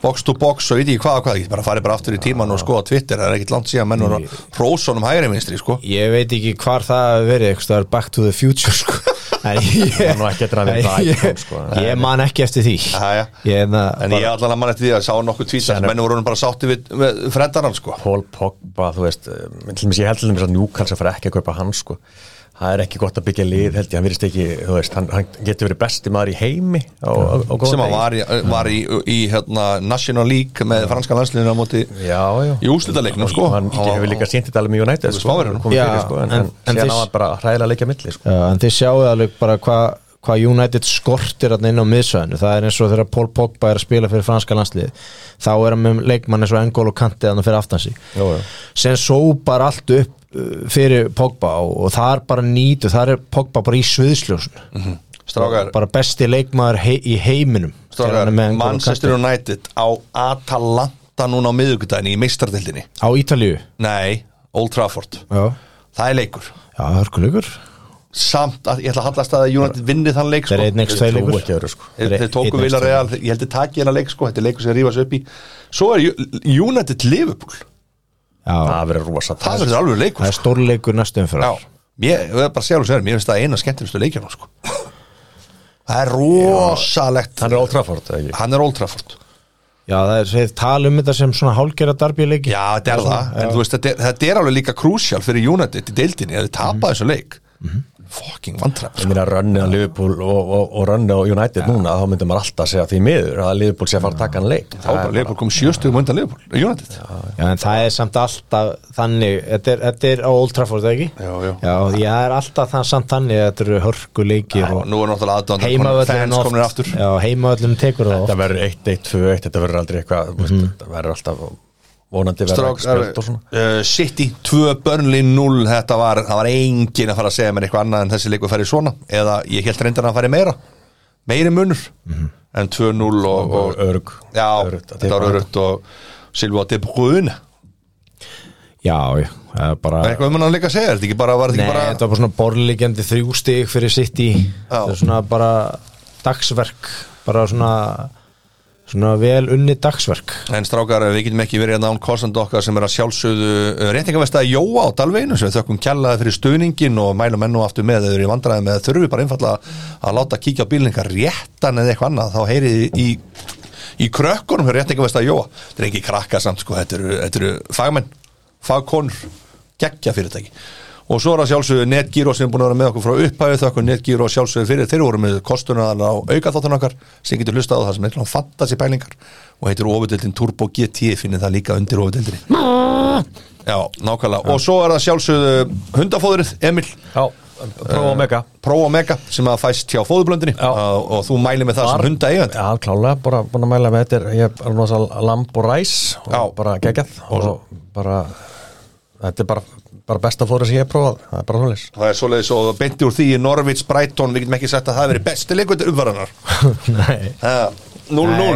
box to box og veit ég hvað og hvað, ég bara farið bara aftur í tíman og skoða Twitter, það er ekkit langt síðan menn voru rósunum hægri minstri, sko
Ég veit ekki hvar það hafi verið eitthvað er back to the future sko. En ég,
Það var nú ekki eftir að við það
ég,
kom, sko.
ég man ekki eftir því
Jæja.
Ég hérna en
En ég allan að mann eftir því að sá nokkuð tvísa sem menn voru orðnir bara sátti við, við freddarann sko
Paul Pogba, þú veist eh, til dæmis, ég held til dæmis að Newcastle fara ekki að kaupa hann sko. það er ekki gott að byggja lið held ég, hann virðist ekki, þú veist, hann, hann getur verið besti maður í heimi á, á, á góðan
sem að
degi.
var í, var í, í hérna, National League með franska landsliðinu á móti
já, já,
í úrslitaleiknum sko
hann
Hann-
hefur líka sínt þetta alveg með United sko,
Spánverjunum.
komið
Já,
fyrir, sko, en,
en-
en,
en
en síðan
þeir-
á hann bara hræðilega leikja milli sko.
Já, en þið sjáu alveg bara hvað hva United skortir hann inn á miðsvæðinu það er eins og þegar Paul Pogba er að spila fyrir franska landslið þá er hann með leikmann eins og Engol og Kanti hann fyrir aftan sig
Jú, jú.
sem sópar allt upp uh, fyrir Pogba og, og það er bara nýtu það er Pogba bara í sviðsljósun
Strákar,
bara besti leikmaður hei, í heiminum þegar
strákar
hann er með N'Golo
Manchester
Kanté.
United á Atalanta núna á miðvikudaginn í meistardildinni
á Ítalíu
Nei, Old Trafford
Já,
Það er leikur
já hörkuleikur
Samt að ég ætla að hallast að United vinni þann leik
Það er einn
sko.
ekst tveileikur
trúi ekki öðru, sko.
Þeir, þeir tóku
Einn-
vilja
einn-
real, ég held að taki hérna leik sko, þetta er leikur sem rífast upp í Svo er Ju- United Liverpool
Já,
það verður rosa
Það verður alveg leikur sko.
það er stórleikur næstum fyrir
Já, ég ég verð bara að segja hún sem er mér finnst það eina skemmtilegustu leikjarnum sko. Það er rosalegt
hann er Old Trafford eða ekki?
Hann er Old Trafford
Já, það er þeir tala um þetta sem svona hálgera darbíleiki
Já, þetta er það, en þú veist, þetta er, þetta er alveg líka krúsjál fyrir United í deildinni að þið tapa þessu leik Fucking sko. vandræð
Ég meina rönnið á Liverpool og, og, og rönnið á United núna, þá myndum maður alltaf segja því miður að Liverpool sé að fara að taka hann leik
Þá bara Leopold kom sjöstugum undan Leopold United Já,
Já, en það er samt alltaf þannig Þetta er, þetta er á Old Trafford, eða ekki?
já, já.
Já, það er alltaf það samt þannig að Þetta eru hörkuleikir
Og
og
nú er náttúrulega aðdóðan
heimavöllum
Fans komnir aftur
Já, heimavöllum tekur það
Þetta
oft Mhm.
verður 1, 1, 2, 1, þetta verður aldrei eitthvað mm Þetta verður alltaf vonandi verður ekki
Strákar,
spjöld og svona
uh, City 2, Burnley 0 Þetta var, það var engin að fara að segja mér eitthvað annað en þessi leikur færi svona eða ég held reyndar að hann færi meira meiri munur en 2-0 og, og
Örg
já,
Öruggt að
þetta var
tippa
örugt og Silva De Bruyne
Já, já, það er bara
er eitthvað um hann að leika að segja, er þetta ekki bara, var þetta
Nei,
ekki bara
þetta var bara svona borlíkjandi þrjú stig fyrir sitt í Þetta er svona bara dagsverk bara svona svona vel unni dagsverk
En strákar, við getum ekki verið að nán kostandi okkar sem er að sjálfsögðu reytingavesta Jóa á Dalveginu sem við þökkum kjallaði fyrir stuðningin og mælum enn og aftur með þau eru í vandræði með þurfi bara einfallega að láta kíkja á bílninga réttan eða eitthvað annað þá heyrið þið í, í krökkunum fyrir reytingavesta Jóa þetta er ekki krakka samt sko, þetta eru, þetta eru fagmenn, fagkonur geggja fyrirtæki og svo er að sjálfsögðu NetGyro sem er búin að vera með okkur frá upphæðu þökkum NetGyro og sjálfsögðu fyrir þeir voru með kostunar á aukaþáttan okkar sem getur hlustað á það sem er eitthvað fantasy pælingar og heitir ofudildin Turbo GT finnir það líka undir ofudildinni Já, nákvæmlega og svo er að sjálfsögðu hundafóðrið Emil
Já, prófa mega
Pro Omega sem að fæst hjá fóðublöndinni
Já.
og, og þú mæli með það sem hunda eigandi
Já, klálega, bara búin að mæla með þetta er- ég er náttúrulega lamb og ræs og
Já.
bara geggjað og, bara þetta er bara, bara besta fóra sem ég hef prófað það er bara húlis
Það er svoleiðis og beinti úr því í Norvits Brighton, við getum ekki sagt að það hafi verið besti leikvöldur umvaranar
Nei,
0-0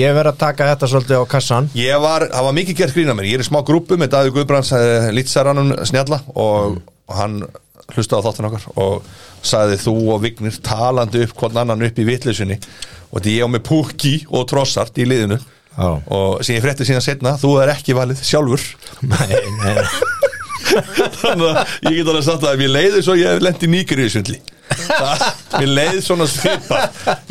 ég verð að taka þetta svolítið á kassan
Ég var, það var mikið gert grína mér, ég er í smá grúpu með Davíð Guðbrands eh, lýtsaranum snjalla og hann hlustaði á þáttan okkar og sagði þú og Vignir talandi upp hvort annan upp í vitlusinni og því ég á með Pukki og Trossart í liðinu
Já.
og sem ég frétti síðan setna, þú er ekki valið sjálfur
Nei, nei,
þannig að ég get alveg sagt það að mér leiði svo ég hef lent í nýgri í sundli mér leiði svona svipa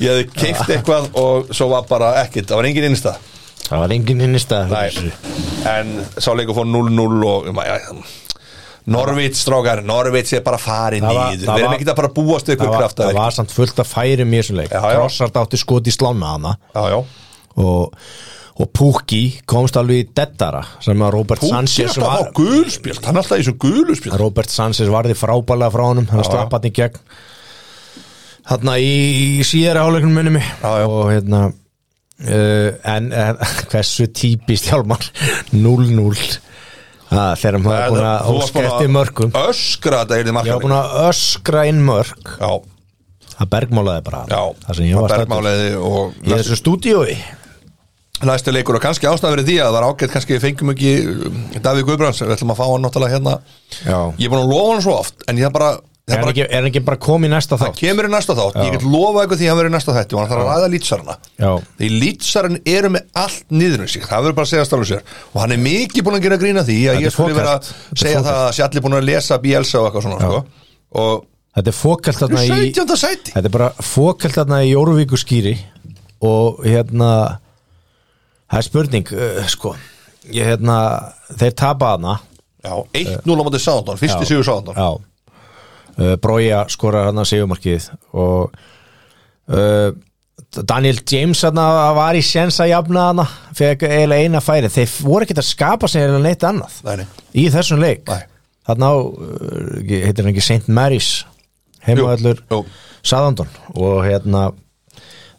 ég hefði keift eitthvað og svo var bara ekkert, það var engin innstæð
það var engin innista
Nei, en sá leikur fór 0-0 og um, ja, Norvits strákar, Norvits er bara farin
Það
í
var-
við
það
erum
var-
ekkert að bara búast við
það
ykkur
var,
krafta
það var samt fullt að færi mér sem leik
Já, já.
Trossard átti skot í slána hana
já, já.
og, og Pukki komst alveg í dettara sem að Robert
Púki
Sanchez
alltaf að
var,
fá gulspjöld hann er alltaf í þessu gulspjöld
Robert Sanchez varði frábælega frá honum hann slapp hann í gegn þarna í, í síðara áleiknum minni mig
Já, já.
og hérna uh, en, en hversu típist hjálmar 0-0 Það, þegar maður er búin að óska eftir mörgum
öskra þetta er þið
ég var
markað
búin að öskra inn mörg
já,
það bergmálaði bara
já,
það sem ég var stættur
bergmálaði og
í þessu stúdíói
næstu leikur og kannski ástæða verið því að það var ágætt kannski við fengum ekki um, Davíð Guðbrands við ætlum að fá hann náttúrulega hérna
Já.
ég er búin að lofa hann svo oft en ég er bara, ég
er
er
hann
bara
ekki, er hann ekki bara komið næsta þátt
kemur í næsta þátt, ég get lofa eitthvað því að hann verið í næsta þætti og hann þarf að ræða lýtsarana
Já.
því lýtsaran eru með allt niður um sig það verður bara að segja stafnum sér og hann er mikið búin að gera grína því að
Þetta er
ég skulle vera að
fokast. Þetta er
segja
fokast.
það að sé allir búin að lesa Bielsa og eitthvað svona sko. og
þetta er fókalt þarna í
17. sæti
þetta er bara fókalt þarna í Jóruvíkuskýri og hérna það er spurning uh, sko ég, hérna, þeir tapa hana
Já, 1-0 á móti Sándón, fyrsti sigur Sándón
já uh, Brója skorar hana sigumarkið og uh, Daniel James hana var í sens að jafna hana fekk eiginlega eina færi þeir voru ekkert að skapa sér en neitt annað
Nei, nei.
í þessum leik
Nei.
þarna á, uh, heitir hann ekki St. Mary's heimavallur
Jú, jú.
Saðandon og hérna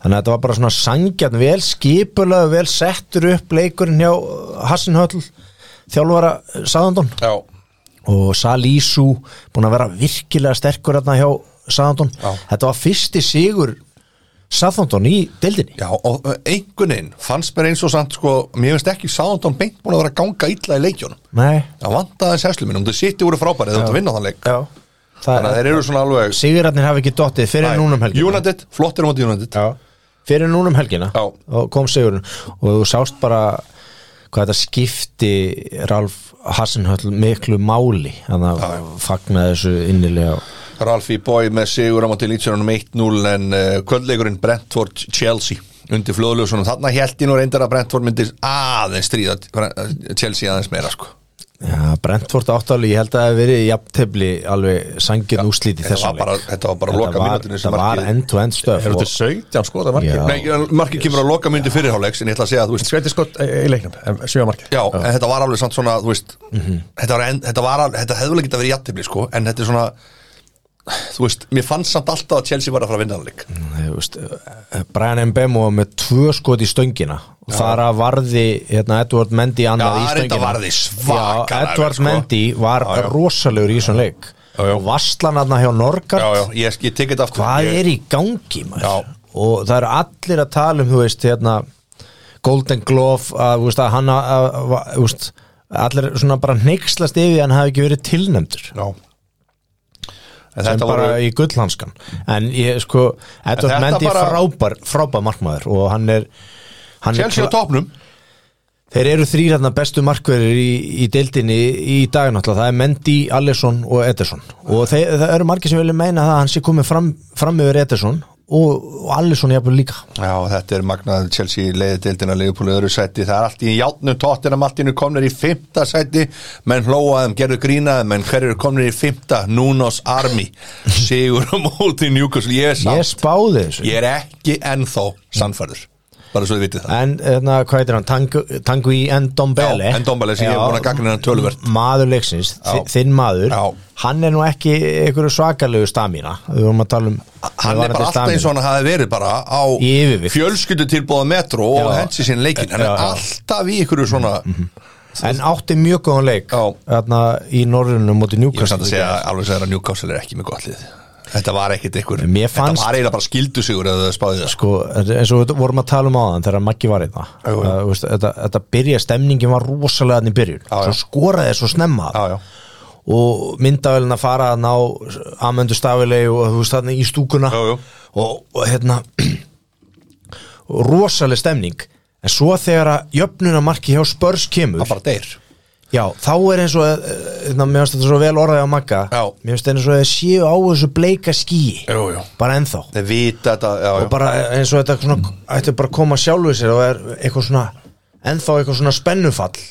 þannig að þetta var bara svona sangjarn vel skipulega vel settur upp leikurinn hjá Hassinhöll þjálfara Saðandon
Já,
og Salísu búin að vera virkilega sterkur hérna hjá Saðandon
Já.
þetta var fyrsti sigur Saðandon í deildinni
já, og uh, einhvern veginn fannst mér eins og samt sko, mér finnst ekki Sándón beint búin að vera að ganga illa í leikjónum
Nei,
Það vantaði sérslu minn, um þau sýtti voru frábæri þau vantaði að vinna þann leik
já
Þannig að
Það,
þeir eru svona alveg
sigurarnir hafi ekki dottið fyrir
Nei,
núnum um helgina
United, flottir á móti United
Já. fyrir núna um helgina
Já.
og kom sigurinn og þú sást bara hvað þetta skipti Ralf Hassenhöll miklu máli þannig að fagnaði þessu innilega
Ralfi Boy með sigur á móti Lítsjörnum 1-0 en uh, kvöldleikurinn Brentford Chelsea undir flóðljósunum, þarna held ég nú reyndar að Brentford myndir aðeins stríða Bre- Chelsea aðeins meira sko
Já, Brentford áttali, ég held að það hef verið jafntefli alveg sangin úslíti
þetta var, bara, þetta var bara loka mínútinu
það var end-to-end stöf
Er þetta 17 skot að markið?
Já.
Nei, markið kemur að loka myndi fyrirháleiks en ég ætla að segja að þú veist
Skveiti skot eh, í leiknum, em, sjö að markið
Já, Mhm. en þetta var alveg samt svona, þú veist þetta, var, en, þetta, var, alveg- þetta hefði vel ekki að vera jættibli sko, en þetta er svona þú veist, mér fannst samt alltaf að Chelsea var að fara að vinna hann leik
Þú veist, eh, Brian Mbemo með tvö skot í stöngina og þar að varði hérna, Edward Mendy annað
Já,
í
reyndar
stöngina
varði svakalega
Já, Edward
vel, sko.
Mendy var
Já, já.
rosalegur í þessum leik
Já, já.
og vasslan aðna hjá
Já,
Norgard
já, ég, ég tekið þetta aftur
hvað
ég,
er í gangi maður
Já.
og það eru allir að tala um þú veist hérna Golden Glove að, þú veist, að hann að, að, að, þú veist, allir svona bara neykslast yfir að hann hafi ekki verið tilnæmdur
Já En
sem
þetta
bara
voru
í gullhanskan en ég sko, Edvard
þetta
Mendy
bara-
frábær frábær markmaður og hann er Hann er
Chelsea á
kla-
topnum
Þeir eru þrýr hérna bestu markverðir í, í deildinni í dag náttúrulega, það er Mendy, Alisson og Ederson og þeir, það eru margir sem vilja meina það að hann sé komið fram, fram yfir Ederson og, og Alisson jafnvel líka
Já, þetta er magnað Chelsea leiði deildina Leifupúli öðru sæti, það er allt í játnum tóttinam, allt í nú komnir í fymta sæti menn hlóaðum, gerðu grínaðum menn hverju eru komnir í fymta, Nunos Army sigur á móti Newcastle, ég er
Ég
samt,
spáði þessu
ég er ekki ennþá sannfærður, bara svo þið vitið það
En hérna, hvað heitir hann, Tangu, Tangu í Ndombele
Já, Ndombele sem ég er búin að gagnrýna töluvert.
Maður leiksins,
Já.
þi- þinn maður
Já.
Hann er nú ekki einhverju svakalegu stamina Við vorum að tala um
hann er bara alltaf eins og hann hafi verið bara á
Í yfirvigt.
fjölskyldu tilbúða metro og
Já.
hensi sín leikin, hann
Já,
er
já.
alltaf í ykkur svona,
En átti mjög góðan leik
Já.
Þarna í Norrunum
ég
móti
er
Newcastle
samt að segja alveg segja að Newcastle er ekki með gott lið þetta var ekkit ykkur,
Mér
þetta
fannst-
var eiginlega bara skildu sigur eða þau spáði það
sko, eins og við vorum að tala um áðan þegar Maggi var einna
Jú, jú.
uh, veist, þetta, þetta byrja, stemningin var rosalega þarna í byrjun,
Já, já.
svo skoraði svo snemma
Já, já.
og myndavelin að fara að ná amöndu stafilegi og þú veist þarna í stúkuna
Jú, jú.
Og, og hérna og rosaleg stemning en svo þegar að jöfnunamarki hjá spörs kemur
það bara deyr
já, þá er eins og eh, hérna, mér finnst þetta svo vel orðaði á Magga
Já.
mér finnst eins og þeir séu á þessu bleika skýi
Jú, jú.
bara ennþá
þeir vita þetta, já, já.
og bara eins og þetta svona, ætti bara að koma sjálfu sér og er eitthvað svona ennþá eitthvað svona spennufall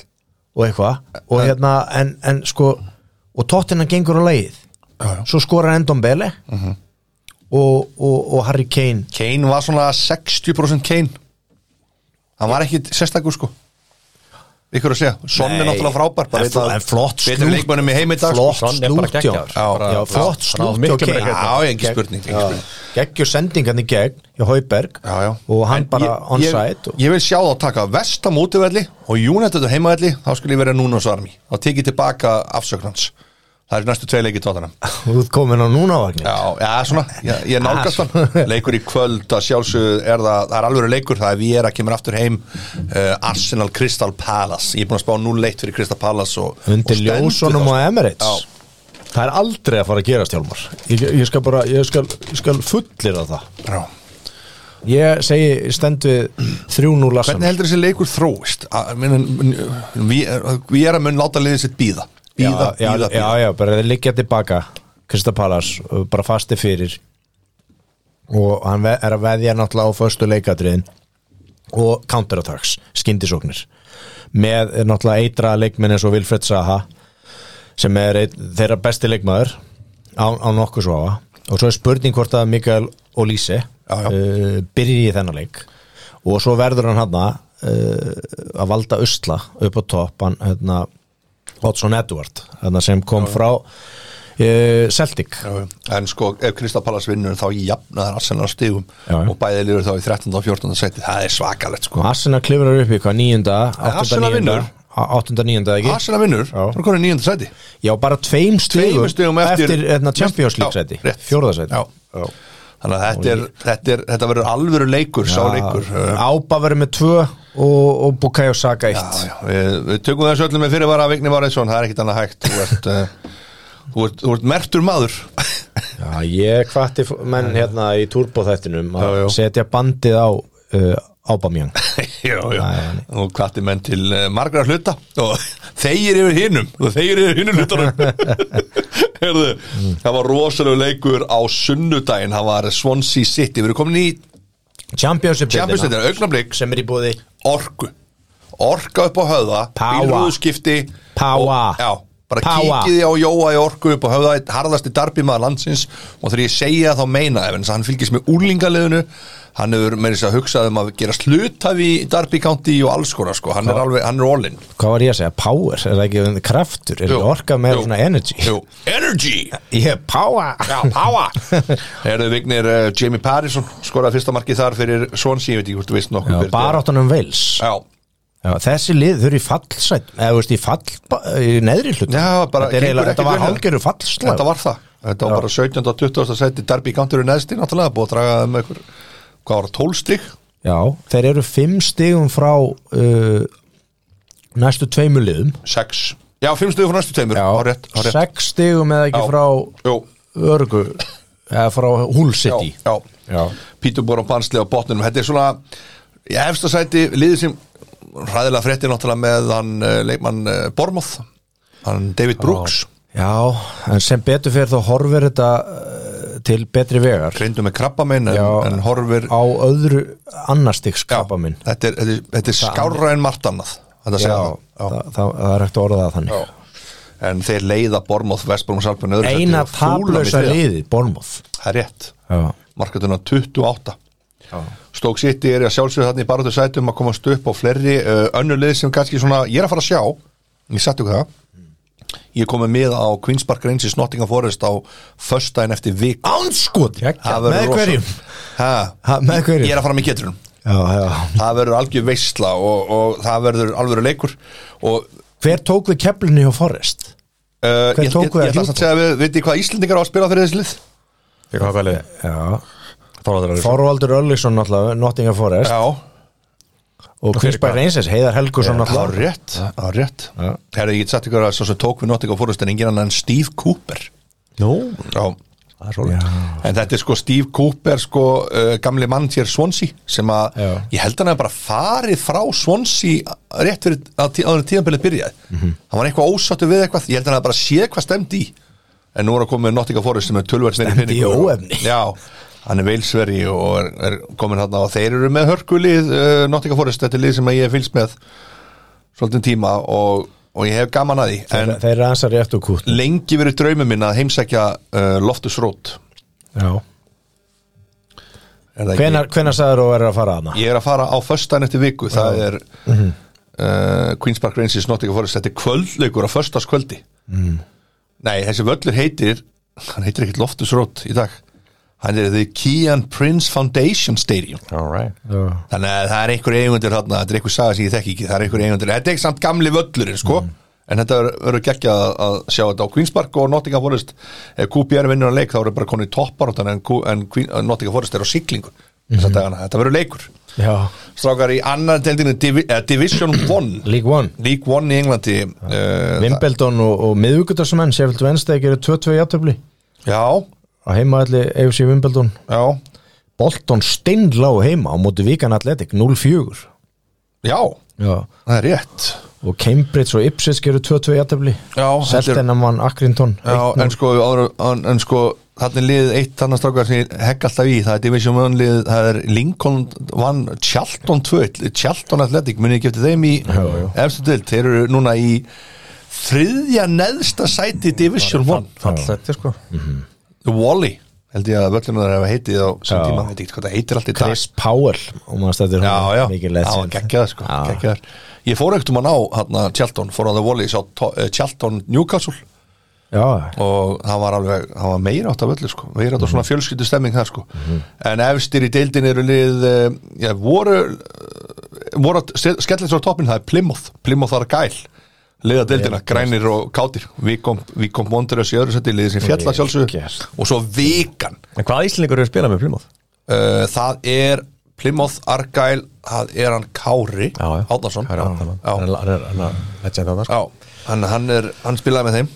og eitthvað og hérna en, en sko og tóttina gengur á leið svo skorar Endon Bele og, og, og Harry Kane
Kane var svona 60% Kane hann var ekki sérstakur sko ykkur að segja, Sonny
Nei.
náttúrulega frábær bara
En
einn
fl-
af
en flott
betri
slútt-
leikmönnum í heim í dag sko.
flott
Son er bara
slútt hjá
geggjaður.
já,
Já,
já,
já,
flott
hann á
slútt hjá
miklu meira
Kane
gegn.
já, ég ekki spurning, ekki spurning.
geggjur sendingarni gegn hjá Hauberg
Já, já.
og
En
hann bara
ég-
on
ég-
site og,
Ég vil sjá þá taka vestam útivelli og United á heimavelli, þá skulle ég vera núna svo armi og tekið tilbaka afsöknans Það er næstu tvei leikið tóttanum
og þú ert komin á núna vagnir
Já, já, svona, ég, ég nálgast
Ah,
hann Leikur í kvöld, að sjálfsögðu er það það er alveg leikur, það er Viera kemur aftur heim uh, Arsenal Crystal Palace Ég er búin að spá 0-1 fyrir Crystal Palace og, og
undir
stendur
ljósunum
það,
og Emirates
Já.
það er aldrei að fara að gerast Hjálmar ég, ég skal bara, ég skal, ég skal fullir að það
Já.
ég segi, ég stend við 3-0
Hvernig
lassan
heldur þessi leikur þróist? Að- mun- mun- Viera mun láta liðið sitt býða Býða,
já,
býða,
já, já, bara þeir liggja tilbaka Krista Palas, bara fasti fyrir og hann ve- er að veðja náttúrulega á föstu leikadriðin og counterattacks, skyndisóknir með eh, náttúrulega eitra leikmenn eins og Vilfred Saha sem er ein, þeirra besti leikmaður á, á nokkuð svo á og svo er spurning hvort að Mikael og Lise
Já, já.
uh, byrji í þennan leik og svo verður hann hann uh, að valda usla upp á topp hann hérna Oddsson Edward hérna, sem kom frá uh, Celtic
Já, já. En sko, ef Krista Pallas vinnur þá jafnaðar Arsenal á stigum
Já, já.
og bæði lifur þá í 13. og 14. seti það er svakalegt sko
Arsenal klifrar upp í hvað nýjunda
Arsenal vinnur.
8. nýjunda ekki
Arsenal vinnur,
Já.
það er konið 9. seti
já bara tveim
Tveimur
stigum,
stigum eftir-
eftir hérna, Champions League
Já,
seti
rétt.
fjórðasæti
Já. Þannig að þetta, er, þetta, er, þetta verður alvöru leikur, sá leikur Uh,
Ába verður með tvö og, og Bukayo Saka eitt
já, já. Við, við tökum þessu öllum með fyrirvara að Vigni Vareðsson, það er ekkit annað hægt Þú ert, uh, þú ert, þú ert mertur maður
já, ég hvatti f- menn hérna í turbóþættinum að
Já, já.
setja bandið á uh, Ába mjöng
Já, já, og kvatti menn til uh, margra hluta og þeir yfir hinnum og þeir yfir hinnum hlutunum Herðu, það var rosalegu leikur á sunnudaginn, það var Swansea City, við erum komin í
Championship
Champions
deildina,
League, augnablik
sem er í búði
orku orka upp á höfða
Power.
bílrúðskipti
Power.
og, já, bara
Power.
kíkiði á Jóa í orku upp á höfða einn harðasti darbi maður landsins og þegar ég segja þá meina ef hann fylgist með úlingaleðinu hann hefur með þess að hugsa um að gera slutafi í darbi county og alls konar sko. hann, er alveg, hann er all in
hvað var ég að segja, power, er það ekki um kraftur, er
Jú.
ekki orka með
Jú.
svona energy
Jú. energy
ég er power
Já, power Erðu vignir uh, Jamie Parrison skoraði fyrsta markið þar fyrir Swansea, ég veit ekki hvort þú veist nokkuð
Já,
fyrir
baráttan um Wales
Já,
Já, þessi lið þau eru í fallsætt eða þú veist í fall, í neðri hlut
Já, bara
þetta, er
gengur
eiginlega-
ekki
þetta var
vel.
hálgeru fallslag
Þetta var það Þetta var bara 17. og 20. seti Derby County eru neðsti náttúrulega Búið að draga það með ykkur Hvað var það, 12 stík?
Já, þeir eru fimm stigum frá uh, næstu tveimu liðum
6 Já, 5 stík frá næstu teimur Há rétt, há rétt
sex stigum eða ekki
Já.
frá
Jú,
örgu eða frá Hull City
já, já.
Já.
Pítur búið á bansli á botninum Þetta er svona Í efsta sæti liðið sem hræðilega frétti náttúrulega með hann eh, leikmann eh, Bormoth hann David Brooks
Já, en sem betur fyrir þá horfir þetta eh, til betri vegar
reyndu með krabba minn en,
Já.
en horfir
á öðru annarstiks krabba minn
þetta er, þetta er, þetta er skárra en margt annað þetta að
Já,
segja
það,
það. Já.
það, það er ekkert að orða það þannig
en þeir leiða Bormoth, Vestbróms Alpen öðru sæti
Eina
og fúla mig
tablausa
þriðja.
liði, Bormoth
það er rétt,
Já,
markatuna 28 Stók City er að sjálfsögðu þarna í baráttu sætum að komast upp á fleiri uh, önnu lið sem kannski svona, ég er að fara að sjá ég satt ykkur það ég er komið með á Queen's Park Reigns í Snottingham Forest á föstudaginn eftir vik
Ánskot,
Það verður
með
rosa.
hverjum
ha,
Ha, með hverjum?
Ég er að fara með geturinn
Já, já
Það verður algjör veistla og, og það verður alvöru leikur og
Hver tók við keflinu hjá Forrest?
uh,
Hver
ég,
tók
ég, ég,
við
ég ætla
að
samt að segja að við veitir hvað Íslendingar á að spila fyrir þessi lið
Ég hvað hvað liði?
Já
Þorvaldur Örlygsson.
Þorvaldur Örlyksson náttúrulega, Nottingham Forest
Já,
og Kvinsberg Reynsins, Heiðar Helgusson
það var
náttúrulega
rétt Það var rétt
Já.
Herðu, ég get satt ykkur að svo sem tók við Nottingham Forest en engin annan en Steve Cooper
Nú,
Já
það er svolítið
En þetta er sko Steve Cooper sko uh, gamli mann hér Swansea sem að
Já.
ég held hann að bara farið frá Swansea rétt fyrir að tí, áður en tíðanbyrðið byrjaði
Mhm.
hann var eitthvað ósáttu við eitthvað ég held hann að bara sé hvað stemdi í en nú er að koma með Nottingham Forest sem er tölvært meiri
Stefndi í
peningur og-
óefni.
Já, hann er veilsveri og er, er komin hann og þeir eru með hörkulið uh, Nottingham Forest, þetta er lið sem að ég hef fylgst með svolítið tíma og, og ég hef gaman að því en
Þeir eru ansar rétt og kút
lengi verið draumum minn að heimsækja uh, Loftus Rót
Hvenar, hvenar sagður og verður að fara hana?
Ég er að fara á föstudaginn eftir viku Það er uh, Queen's Park Rangers Nottingham Forest Þetta er kvöldleikur á föstudagskvöldi Nei, þessi völlur heitir Hann heitir ekkert Loftus Rót í dag Hann er The Kian Prince Foundation Stadium
All right
Já.
Þannig að það er einhver eigundur þarna Þetta er einhver saga sem ég þekki ekki Það er einhver eigundur Þetta er ekki samt gamli völlurinn sko En þetta verður- verður geggja að, að sjá þetta á Queen's Park og Nottingham Forest Ef QPR vinnur að leik þá eru bara konið toppar en, Q- en Queen, eh, Nottingham Forest er á siglingu mm -hmm. Þetta verður leikur
Já,
strákar í annar deildinu Divi eh, Division 1
League One
League 1 í Englandi uh,
Vimbeldon og, og miðvíkudagsmenn Sheffield Wednesday gerir 2-2 játtöfli
Já,
á heimaðalli EFC Vimbeldon
já
Bolton steinlá heima á móti Vikan Athletic 0-4
Já,
Já.
það er rétt
og Cambridge og Ipswich gerir 2-2 játtöfli
Já, þetta er-
Seltenham vann Akrinton
Já, en sko, áður- en, en sko þannig lið eitt þannig strákar sem ég hegg alltaf í það er Division 1 lið, það er Lincoln vann Charlton 2 Charlton Athletic, munið ekki eftir þeim í efstu dild, þeir eru núna í þriðja neðsta sæti í Division 1
Fallseti sko
Wally, held ég að völlunum þeir hafa heitið á sem
Mhm. Já.
tíma, veit ekki hvað það heitir allt í dag
Chris Powell og maður stættir
já, já,
mikið
já,
legend
geggjaður sko
Já.
geggjaður. ég fór ekkert um að ná hérna Charlton, fór á það voli, sá to- eh, Charlton Newcastle
Já,
og það var alveg, það var meira átt af öllu sko, meira átt af
Mhm.
svona fjölskyldu stemming það sko, en efstir í deildin eru lið, eh, já, voru eh, voru að se- skella þessu á toppin það er Plymouth, Plymouth var gæl liða deildina, grænir og kátir Vikom, Vikom Montreux í öðru seti liðið sem fjalla sjálfsög
Yes.
og svo Vikan
En hvaða Íslendingur eru að spila með Plymouth?
Uh, það er Plymouth Argyle, það er hann Kári Átnarsson
Kári Árnason. Hann
já,
er- hann er- hann er legend þarna, sko.
já, hann, hann, er, hann spilaði með þeim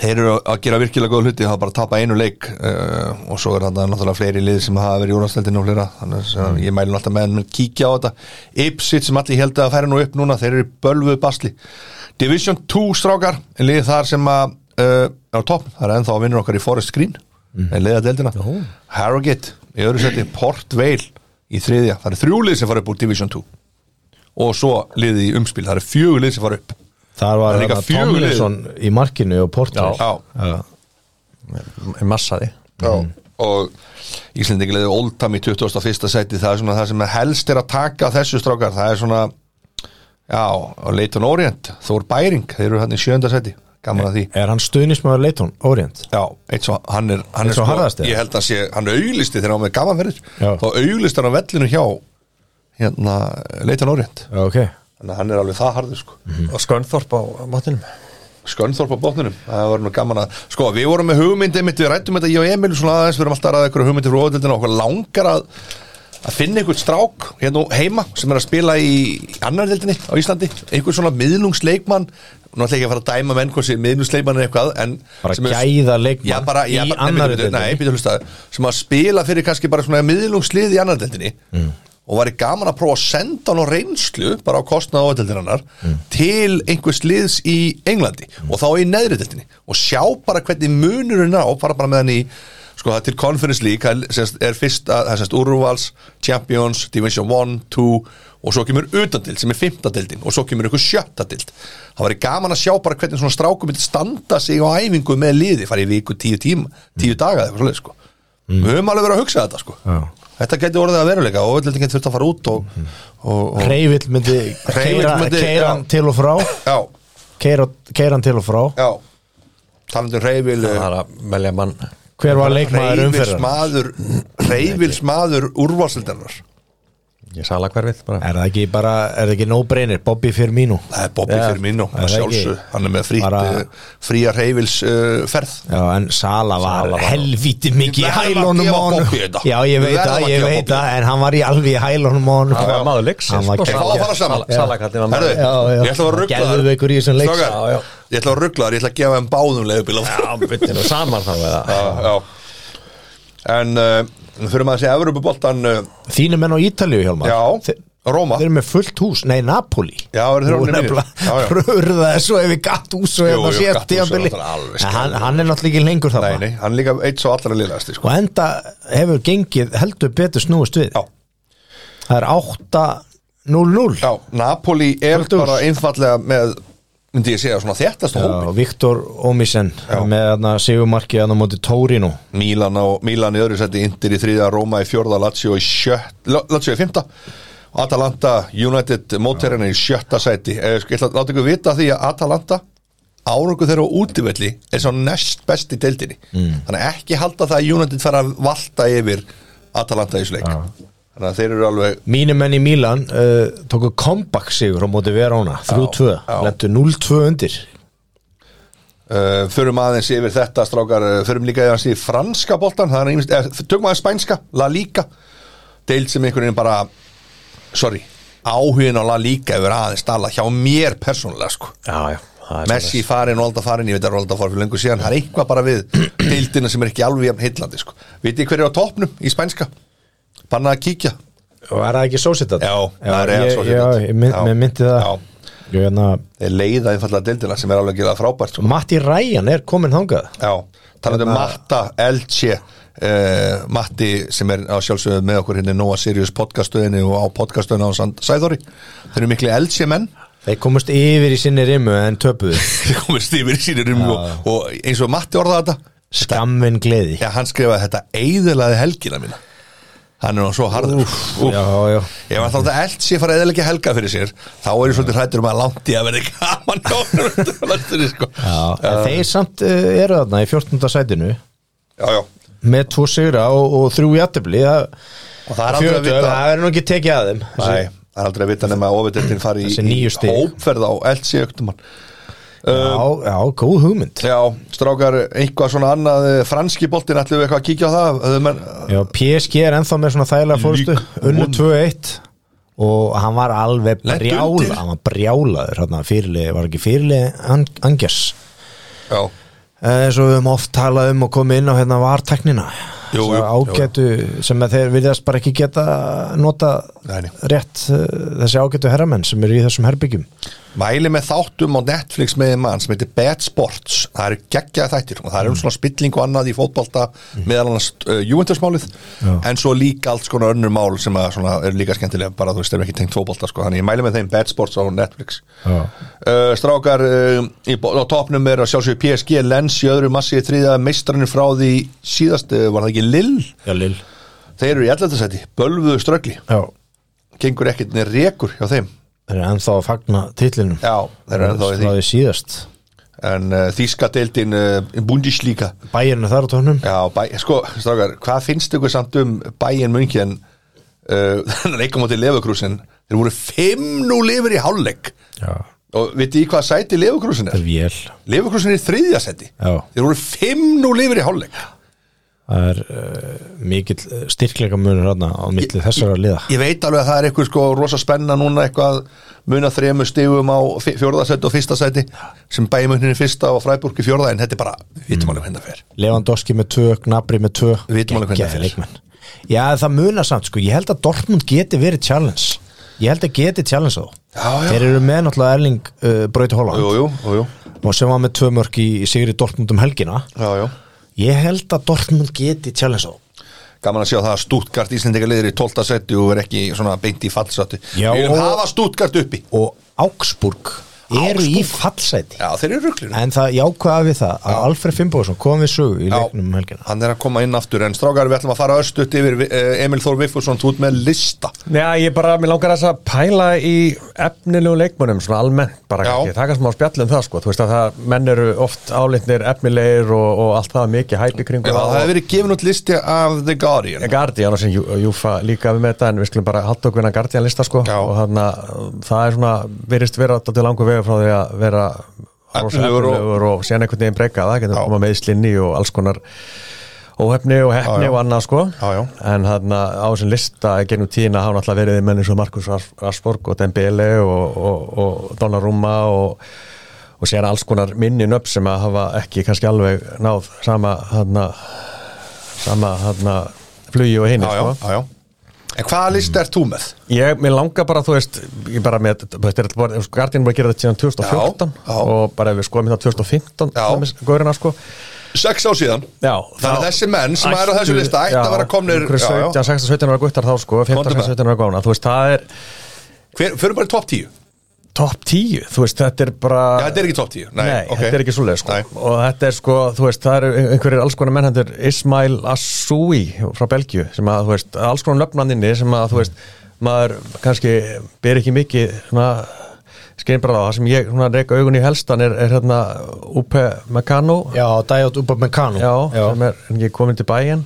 þeir eru að gera virkilega góð hluti það er bara að tapa einu leik uh, og svo er þetta náttúrulega fleiri lið sem hafa verið í úrvarsdeildinni og fleira, þannig að mm. ég mælum alltaf með en kíkja á þetta, Ipsit sem allir held að færa nú upp núna, þeir eru í bölvuð basli Division 2 strákar lið þar sem að uh, er á topp, það er ennþá að vinnur okkar í Forest Green en leiða deildina Harrogate í öðru seti, Port Vale í þriðja, það eru þrjú lið sem fara upp úr Division 2 og svo liðið í umspil, það eru fjögur lið sem fara upp
þar
Það
var
er líka
þarna
fjögur lið.
Tomlinson í markinu og Portugal
Já.
En Massaði
Já,
Mhm.
og Íslendingi leiði Oldham í 21. sæti það er svona það sem er helst er að taka af þessu strákar, það er svona já, og Leighton Orient, Þór Bæring þeir eru hann í sjönda sæti, gaman að því
Er hann stuðnismæður Leiton, Orient?
Já, eins og hann er, hann
Eins
er sko,
og harðasti.
ég held að sé, hann auglisti þegar hann var með gaman verið,
Já.
þá auglisti hann á vellinu hjá hérna Leighton Orient,
Já, ok
þannig að hann er alveg það harður sko
Og Skönþorp á matnum
Skönþorp á botnunum, það var nú gaman að sko, við vorum með hugmyndi, einmitt, við rættum þetta ég og Emil svona aðeins, við erum alltaf að ræða einhverju hugmyndi frá óvöldildina, okkur langar að að finna einhvern strák hérna nú heima sem er að spila í annar dildinni á Íslandi, einhvern svona miðlungsleikmann nú ætla ég ekki að fara að dæma menn hversi miðlungsleikmann er eitthvað, en
Bara
sem er-
gæða leikmann
já, bara, já, bara,
í
nei,
annarri
bíddu, bíddu,
deildinni.
nei, bíddu, hlustaðu, sem að spila fyrir kannski bara svona miðlungslið í annar dildinni og væri gaman að prófa að senda hann á reynslu bara á kostnað á öllildir hannar til einhvers liðs í Englandi og þá í neðri deltinni og sjá bara hvernig munurinn á fara bara með hann í sko það er til Conference League það er, semst, er fyrst að, það er semst Úrvals Champions, Division 1, 2 og svo kemur utandild sem er fimmtadildin og svo kemur ykkur sjöttadild það væri gaman að sjá bara hvernig svona strákum myndi standa sig á æfingu með liði fara í viku tíu tíma, tíu daga eða eitthvað svoleiðis sko við höfum alveg verið að hugsa þetta sko
Mm. Já. Mm.
þetta geti orðið að veruleika og öll getur þurft að fara út og, og, og
Reyvill myndi
Hreyfill
keira,
myndi-
keira hann
já.
til og frá
já,
keira, keira hann til og frá
já um talandum reyfil
það er að velja mann
Hver var leikmaður umferðar?
reyfilsmaður reyfilsmaður úrvalsildarnar
í salakverfið bara
Er það ekki bara, er það ekki no-brainer Bobby Firmino
Það er Bobby
Já.
Firmino,
er
hann
það ekki.
sjálfsög hann er með frýtt,
Bara-
Bara... fría reyfils uh, ferð
Já, en Sala var,
Sala var-
helvíti mikið í
Við verðum að
hælunum
gefa
á honum
Bobby þetta.
Já,
Við
ég veit
verðum
að,
að
ég
gefa
veit
Bobby
að En hann var í alveg í hælunum á honum
Það var maður
Hann
leiksins
var
sko,
geggjað.
Fá að fara saman.
Sal- Salakallinn var
Herðu,
maður
Já, já.
ég ætla að ruggla
Geðveikur í þessum leik.
Já, já.
Ég ætla að ruggla þar, ég ætla að gefa þeim báðum leiðubíla
Já, byttir og saman þá eða
Já, já En uh, fyrir maður að segja Evrópuboltan uh,
Þínu menn á Ítalíu, Hjálmar
Já,
Þe-
Róma
Þeir eru með fullt hús, nei Napoli
Já, eru þeir orðnir vinir? Já, já.
Röðað svo ef við gatt hús
Jú,
og hérna
jú,
síðast
Gattuso er
tímabili.
náttúrulega alveg
En hann, hann er náttúrulega ekki lengur það
Nei, nei, hann er líka eitt svo allra liðasti sko.
Og enda hefur gengið heldur betur snúist við
Já,
Það er 8-0-0
já, Napoli er
Fullt hús.
bara einfallega með myndi ég segja svona þéttast hópi
Og Viktor Omisen með þarna sigumarkið hann á móti Tórinu
Mílan, á, Mílan í öðru seti, Inter í þriða, Róma í fjörða, Lazio í sjött La- Lazio í fymta Atalanta, United, Móterina í sjötta seti Eh, sko, Ég ætla að láta ykkur vita því að Atalanta árangu þeirra á útivelli er svo næst besti deildinni mm. þannig að ekki halda það að United fara að valta yfir Atalanta í þessu leik þannig að þeir eru alveg
Mínu menn í Mílan uh, tóku comeback sigur á móti Verona 3-2,
já.
lendu 0-2 undir
Uh, förum aðeins yfir þetta strákar uh, förum líka aðeins í franska boltan það er ímest, eh, tökum aðeins spænska, La Liga deild sem einhvern veginn bara sorry, áhugin á La Liga hefur aðeins dala hjá mér persónulega sko.
Já, já, það er
Messi farin og alltaf farin, ég veit að Rolda fór fyrir lengur síðan það er eitthvað bara við deildina sem er ekki alveg jafn heillandi sko. veit ég hver er á topnum í spænska banna að kíkja
Var það ekki Sósitat?
Já, það er Real
ég-
Sociedad.
Já, ég mynd-
Já.
mér myndi það
Já.
Ég hérna,
Þeir leiða einfallega deildina sem er alveg að gera það frábært sko.
Matti Ræjan er komin þangað
Já, talandi
Hérna-
um Matta Elche uh, Matti sem er á sjálfsögðu með okkur hérna í Nóa Sirius podcaststöðinni og á podcaststöðinni á Sand- Sæþóri Þeir eru mikli Elche menn
Þeir komust yfir í sinni rimu en töpuðu
Þeir komið stífur í sínir um og, og eins og Matti orðaði þetta
Skamvin gleði
Já, hann skrifaði þetta eiðilaði helgina mína Hann er nú svo harður Úf,
Já, já
Ef hann þátt að Elche fara eða ekki helga fyrir sér þá er ég svolítið hrættur um að langt í að verði gaman hjá honum á næstunni, sko.
Já, en þeir samt uh, eru þarna í 14. sætinu
já, já
með tvo sigra og, og þrjú í aðtefli
Og það er aldrei að
Fjörutu,
vita
það er nú ekki tekið að þeim
Nei, það er aldrei að vita nema að ofiðdeltin fari
Þessi
í, í
níu stig.
hópferð á LC Öktumann
já, já, góð hugmynd
Já, strákar, eitthvað svona annað eh, franski boltinn, ætlum við eitthvað að kíkja á það Höfðu menn,
Já, PSG er ennþá með svona þægilega fórstu unnu 2-1 og hann var alveg
Lent
brjála
undir.
hann var brjálaður, hann fyrirlið var ekki fyrirlið angjars
Já,
Eh, eins og við höfum oft talað um og komið inn á hérna varteknina
Jú, jú,
ágætu sem að þeir viljast bara ekki geta nota
Nei, nei.
rétt uh, þessi ágætu herramenn sem eru í þessum herbyggjum
mæli með þáttum á Netflix með einn mann sem heitir Bad Sports Það eru geggjaði þættir og það eru um svona spilling og annað í fótbolta meðal annars uh, Juventusmálið
Mm. Já.
en svo líka alls konar önnur mál sem að svona eru líka skemmtilega bara þú veist, þeir eru ekki tengt fótbolta sko, þannig ég mæli með þeim Bad Sports á Netflix
Já.
uh, strákar uh, í, bo- á topnum er að sjálfsögur PSG Lens í öðru massi í þriða meistranir frá því síðast uh, var það ekki Lill
Já, Lill
þeir eru í 11. seti, bölvuðu ströggli gengur ekkert neð rekur hjá þeim
Þeir eru ennþá að fagna titlinum
já, þeir eru ennþá í
Frá
því
því síðast
en uh, þýska deildin uh, Bundesliga
Bæirinn er þar á tónum
já, bæ, sko, strákar, hvað finnst ykkur samt um bæin munkin uh, þannig reykum á til Lefakrúsin þeir voru 5-0 yfir í hálfleik
Já
og vitið í hvað sæti Lefakrúsin
Það
er?
er vél
Lefakrúsin er í þriðja seti
Já.
þeir voru 5-0 yfir í hálfleik
Það er uh, mikill styrkleika munur hérna á milli þessara liða
Ég veit alveg að það er eitthvað sko rosa spenna núna eitthvað muna þremur stigum á fi- fjórða sæti og fyrsta sæti sem bæmuninni fyrsta og Fræburg Mm. í fjórða en þetta er bara, við vitum alveg hvernig það fer
Levandowski með tvö, Gnabry með tvö
Við vitum alveg hvernig það fer.
leikmenn Já, það munar samt, sko, ég held að Dortmund geti verið challenge Ég held að geti challenge þó
Já, já.
Þeir eru með náttúrulega Erling uh, Brauti Holland
Jú, jú, jú, jú.
og sem var með tvö mörk í, í sigri Dortmund um helgina
Já, já.
Ég held að Dortmund geti challenge þó
Gaman að sjá það að Stuttgart Íslendinga liðir í 12. seti og er ekki svona beint í fallsati
Já,
Við viljum
og-
hafa Stuttgart uppi
og Augsburg eru í fallseti
Já, þeir eru rugglinu
En það jákvæða við það að Alfred Fimboðsson kom við sögu í leiknum um helgina
hann er að koma inn aftur en strákar við ætlum að fara östut yfir eh, Emil Þór Viffusson þú ert með lista
Já, ég bara, mér langar þess að pæla í efnilegu leikmönnum, svona almennt bara
Já.
ekki, taka smá spjall um það sko, þú veist að það, menn eru oft álitnir efnilegir og, og allt það mikið hæpi
Já,
kringu
það hefur verið gefin út listi af The Guardian
Guardian og sem Jú- Júfa líka við með þetta en við skulum bara halda okkur en að Guardian lista sko
Já.
og þannig að það er svona virðist vera til langur vega frá því að vera rosa
Efnilegur og-
efnilegur og síðan einhvern veginn breyka það getur
Já.
koma með slinni og alls konar óhefni og hefni
Já, já.
og annað sko
Já, já.
en þannig að á þessum lista gennum tíðina hafa náttúrulega verið menn eins og Markus Ras- Rasborg og Dembele og, og, og Donnarumma og, og sér alls konar minni nöpp sem að hafa ekki kannski alveg náð sama þarna sama þarna flugi og hinni
já, já,
sko.
já, já. en hvaða lista ert þú með?
Ég, mér langar bara, þú veist, ég bara með, þú veist, Guardian var að gera þetta síðan 2014
Já, já.
og bara ef við skoðum það 2015,
Já.
það með góðurina, sko.
sex ár síðan
Já,
Þannig að
þá-
þessi menn sem
ættu-
eru á þessu lista ættu
já,
að vera komnir-
einhverjir
já, já.
17, 16, 17 ára guttar þá, sko, 15,
Komdu með.
16, 17 ára góðuna, þú veist, það er
Hver, fyrir bara í topp 10 já,
topp 10, þú veist, þetta er bara...
þetta er ekki topp 10
Nei,
ok.
þetta er ekki svoleið sko.
Nei.
og þetta er sko, þú veist, það eru einhverjir alls konar mennhendur, Ismail Assoui frá Belgíu, sem að, þú veist, alls konar löfnaninni sem að, þú veist, maður kannski ber ekki mikið svona, skeiðin bara á, það sem ég svona reyka augun í helstan er, er hérna Upe Meccano, já,
Já, Dajot Upamecano
sem er en ekki komin til bæinn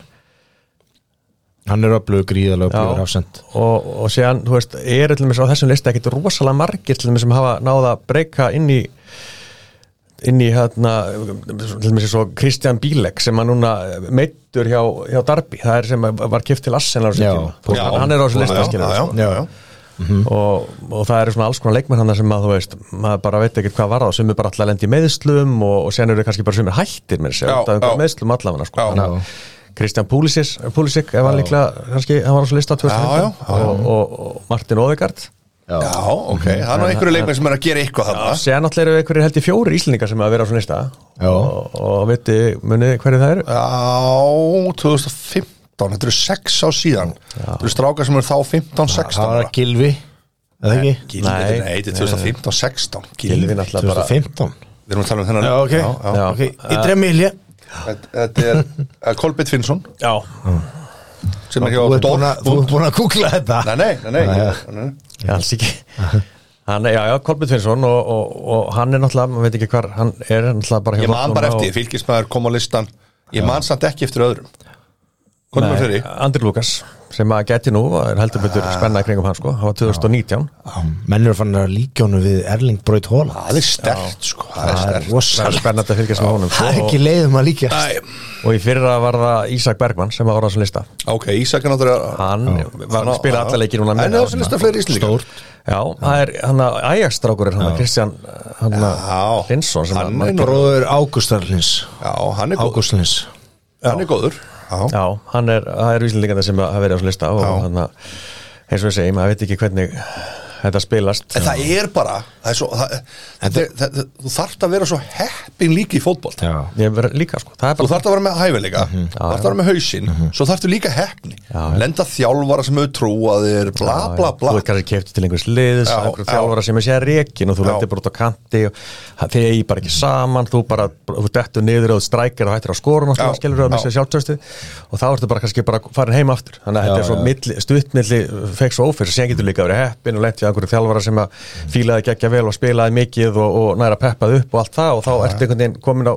Hann er öflugur gríðalega
Já.
öflugur afsend
og, og séðan, þú veist, er til dæmis á þessum lista ekkit rosalega margir til dæmis sem hafa náða að breyka inn í inn í hérna til dæmis svo Kristján Bílek sem að núna meittur hjá, hjá Darby það er sem að var kipt til Arsenal á þessum
Já,
tíma. hann, hann er á þessum lista
já,
skilur
já,
við,
já,
sko.
já, já.
og, og það eru svona alls konar leikmenn hann sem að þú veist, maður bara veit ekkert hvað var það sem er bara alltaf lendi í meðslum og, og sen eru kannski bara sem er hættir með
Já,
þessu
já.
meðslum allavega sko.
Já.
Þannig að Kristján Púlisik, Púlisik ef hann líklega, kannski, hann var á svo lista 2015
Já, já, já.
Og, og, og Martin Óðegard
já, ok,
Mhm.
það er nú einhverju leikmenn sem er að gera eitthvað
og
þarna
sér náttúrulega eru einhverjir held í fjóri íslendingar sem að vera á svo lista
Já.
og, og viti, munið hverju það eru
já, 2015 þetta eru sex ár síðan þetta eru strákar sem eru þá 15, 16
Það var
ára.
að Gilvi, eða ekki?
Gylfi,
Nei.
nei, þetta er 2015, 16 Gylfi.
Gylfi náttúrulega bara
2015
við erum að tala um þennan
Já, ok,
já,
já.
ok, Ytre Emilje
Þetta- þetta er eh, Kolbeinn Finnsson
Já,
sem er hjá
Þú ert búin að- þú
Dortmund
ert búin að googla þetta
Nei, nei, nei, nei,
Nei,
nei,
já.
nei.
Já, alls ekki hann, Já, já, Kolbjörn Finnsson og, og, og hann er náttúrulega, maður veit ekki hvar hann er náttúrulega bara hjá
Ég man
Dortmund
bara
og-
eftir, fylgismæður kom á listan Ég man samt ekki eftir öðrum Hvað er fyrir?
Nei, Andri Lukas sem að geti nú, er heldur betur spennað kringum hann sko, hann var 2019
Menn eru fann að líka honum við Erling Braut Holland
Það er stert, sko Það er
Það er
stert
það er
rosalega
spennandi að fylgjast með honum sko,
Það er ekki
og,
leiðum að líka
og í fyrra var það Ísak Bergmann sem var á þessum lista
Ok, Ísak er náttúrulega
hann var að
Hann á-
spila alla leiki núna
En það
með
er þessu lista fleiri íslendingar
Já, það er hann að Ajax-strákur er hann að Kristján hann að
Já.
Linsson sem að
Hann er
margir-
nú-
Bróður Ágústarlins
Já, hann er góður
Ágústarlins
Hann er góður Já,
Já, hann er, það er vísendingarnir sem hafa verið á þessum lista og
Já.
þannig að eins og ég segi, maður veit ekki hvernig þetta spilast
En það er bara það er svo, það, það, það, Þú þarft að vera svo heppin líka í fótbolt
Já
Ég verð líka sko, það er
Þú
bara
þarft að vera með hæfileika,
Mhm.
þarft að vera með hausinn Svo þarftu líka heppni
Já.
Lenda þjálfara sem auð trúa þér Bla, bla, bla
Þú veit kannski kefti til einhvers liðs
Já,
einhverjum
já.
þjálfara sem er sér reikin og þú
Já.
lendir bara út á kanti og þegar ég bara ekki saman, þú bara þú dettur niður og þú strækir og hættir á skorun og
Já,
þú skilur að
já.
missa sjálftösti og þá ertu bara kannski bara farin heim aftur þannig
Já,
að þetta er svo
já.
milli, stuttmilli feiks og ófyrir, sem getur líka verið heppin og lendið einhverju þjálfara sem að fílaði geggja vel og spilaði mikið og, og næra peppað upp og allt það og þá ertu einhvern veginn komin á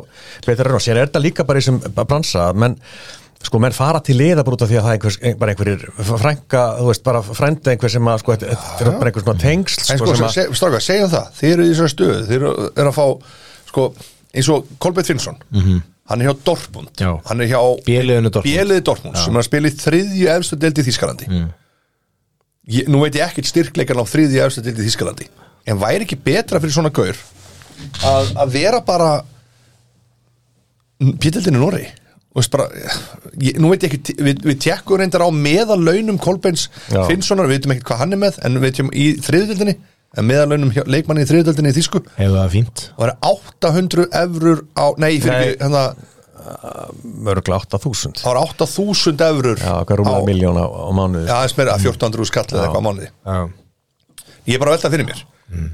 betra raun og sér er þetta líka bara í þessum bransa menn sko menn fara til liða bara út af því að það er einhvers, ein- bara einhverjir frænka þú veist bara frænda einhver sem að sko þetta þetta eru bara einhver svona tengsl
En
sko,
sko,
sem
sko
að,
seg, stráka, segjum það, þið eru í þessari stöðu þið eru, eru að fá, sko eins og Kolbett Finnsson
Mhm.
hann er hjá Dortmund,
Já.
hann er hjá
B-liðinu Dortmund.
Bjeliði Dortmund sem er að spila í þriðju efstu deildi Þískalandi mm. ég, Nú veit ég ekkert styrkleikan á þriðju efstu deildi Þískalandi en væri ekki betra fyrir svona gaur að, að vera bara P-deildinu Norri þú veist bara, ég, nú veit ég ekki við, við tekkum reyndar á meðalaunum Kolbens
Já.
Finnssonar, við veitum ekkert hvað hann er með en við veitum í þriðdöldinni meðalaunum hjá- leikmanni í þriðdöldinni í Þísku
hefur það fínt
og það er 800 evrur á, nei, fyrir
Nei.
ekki hérna,
mörgla 8000
það er 8000 evrur
Já, hvað rúmlega
á-
miljón á, á mánuði
Já, aðeins meira, 1400 skall eða eitthvað á mánuði
Já.
Ég er bara að velta fyrir mér mm.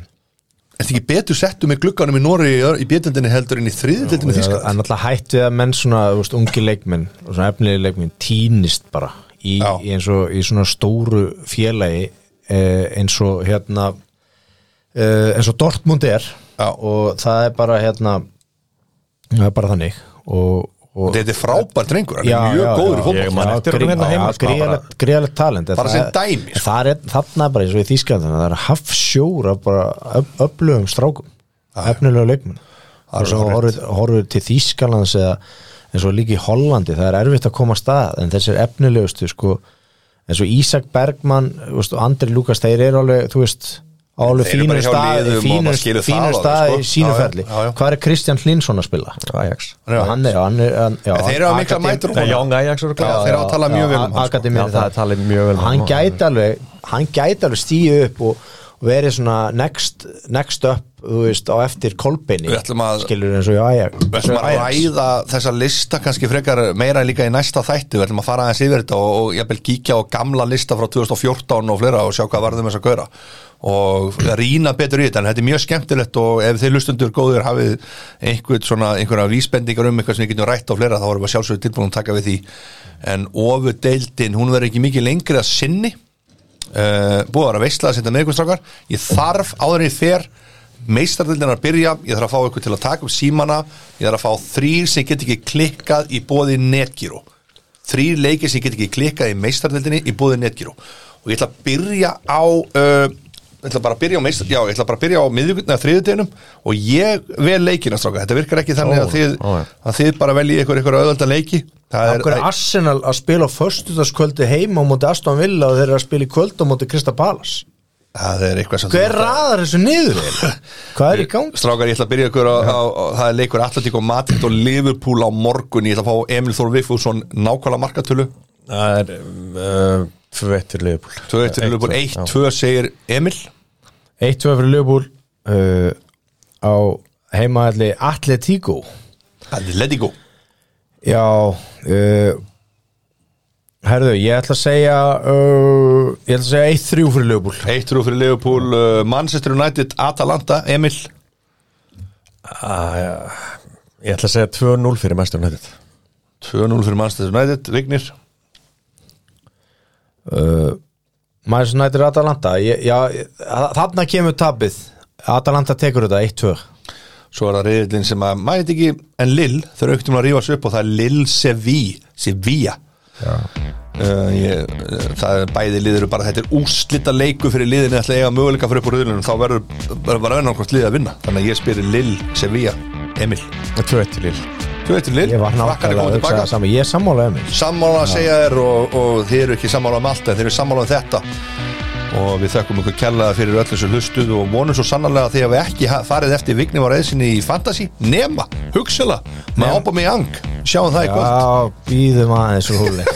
Er þetta ekki betur settu með glugganum í Nóri í, í bjöldildinni heldur en í þriðildildinni
Það
þíska?
er náttúrulega hætt við að menn svona þú veist, ungi leikmenn og svona efnilegi leikmenn týnist bara í,
Já.
í eins og í svona stóru félagi eh, eins og hérna eh, eins og Dortmund er
Já.
og það er bara hérna það er bara þannig og, og
Þetta er frábært drengur, hann er mjög góður í
Ég
fólkból
man eftir honum hérna heima, sko,
fólkból gríðalegt talent en
Bara
það
sem
er-
dæmi, sko.
það er, þarna bara eins og í Þýskaldan það er hafsjóra bara öf- öflugum strákum efnilega leikmenn og svo horfir horfir til Þýskalands eða eins og líka í Hollandi það er erfitt að koma af stað en þessir efnilegustu sko eins og Ísak Bergmann þú veist, og Andri Lukas þeir eru alveg þú veist á alveg
Þeir eru
fínu
bara hjá
stað
liðum og
fínu,
maður skilur það
fínu
alveg,
stað
sko.
í sínu
Já, já,
ferli
já, já.
hvað er Kristján Hlinsson að spila?
Ajax
Já.
hann er, hann er, hann, já,
En þeir eru að mikla
akadem-
mætur og
Nei,
svona.
Young Ajax eru
Já,
klár.
þeir eru að tala mjög vel um hann, sko.
Akademi
Já, það er talið mjög vel um
hann
hann.
gæti alveg hann gæti alveg stíu upp og, og verið svona next, next up þú veist, á eftir kolbeini
Við ætlum að-
skilur eins og ég Ajax
Við ætlum að ræða þessa lista kannski frekar meira líka í næsta þætti Við ætlum að fara aðeins yfir þetta og, og jafnvel kíkja á gamla lista frá 2014 og fleira og sjá hvað varðum þess að gauðra og rýna betur í þetta en þetta er mjög skemmtilegt og ef þið lustundur góður hafið einhvern svona einhverja vísbendingar um eitthvað sem við getum rætt á fleira þá erum við sjálfsögur tilbúin að taka við því en ofu deildin, hún verður ekki mikið lengri að sinni uh, búið að vera veistla að senda með ykkur strákar ég þarf áður en ég fer meistardildin að byrja, ég þarf að fá ykkur til að taka upp símana, ég þarf að fá þrýr sem get ekki klikkað í bóði netgíró þrýr leikir sem ég get ekki klikkað í meistardildinni í bóði netgíró og ég ætla að byrja á uh, ég ætla bara að byrja á meistar, já, ég ætla bara að byrja á miðvíkundna þriðuteginum og ég vel leikina stráka, þetta virkar ekki þannig
Ó,
að þið,
ó, já.
að þið bara veljið ykkur ykkur auðvölda leiki það
okkur er Arsenal að spila á föstudagskvöldi heima á móti Aston Villa og þeir eru að spila í kvöld á móti Krista Palas
það er eitthvað sem þú
hver
mátt að-
raðar þessu niður eiginlega? hvað er í gang?
Strákar, ég ætla að byrja ykkur á, á, á, það er leikur Atlantík og Madrid og Liverpool á morgun ég ætla að fá Emil Þór Viffússon nákvæmlega markatölu
Það er um, 2-1 til Liverpool
2-1 til Liverpool, 1-2 segir Emil
1-2 fyrir Ljöfbúl uh, á heimaðalli Atletico
Atletico
Já uh, Herðu, ég ætla að segja uh, Ég ætla að segja 1-3 fyrir Ljöfbúl
1-3 fyrir Liverpool, uh, Manchester United Atalanta, Emil
Ég ætla að segja 2-0 fyrir mestur nættið
2-0 fyrir Manchester United, Rignir
Maður sem nættir Atalanta ég, já, ég- þa- Þarna kemur tabið Atalanta tekur þetta 1-2
svo er það reyðilinn sem að maður veit ekki, en Lill þau eru auktum að rífa sér upp og það er Lill Sevilla Sevilla uh, ég, uh, það er bæði liður bara þetta er úslita leiku fyrir liðinu ætla að eiga möguleika fyrir upp úr röðlunum þá verður bara önnarkvæmst liðið að vinna þannig að ég spyrir Lill Sevilla Emil,
2-1 til Liverpool
þú veitir Lill
Ég var
frakkar
nákvæmlega
að
að
koma
hugsa það
tilbaka
saman Ég er sammálaðið mér
sammála að segja þér og, og þið eru ekki sammála um allt en þið eru sammála um þetta og við þökkum ykkur kellaða fyrir öllu sem hlustuð og vonum svo sannarlega að þið hafi ekki ha- farið eftir vignum á reyðsynni í Fantasí nema, hugsela, maður ápa mig ang sjáum það í kvöld
Já, býðum aðeins úr húli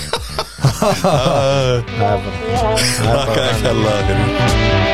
Þakka þér kellaða fyrir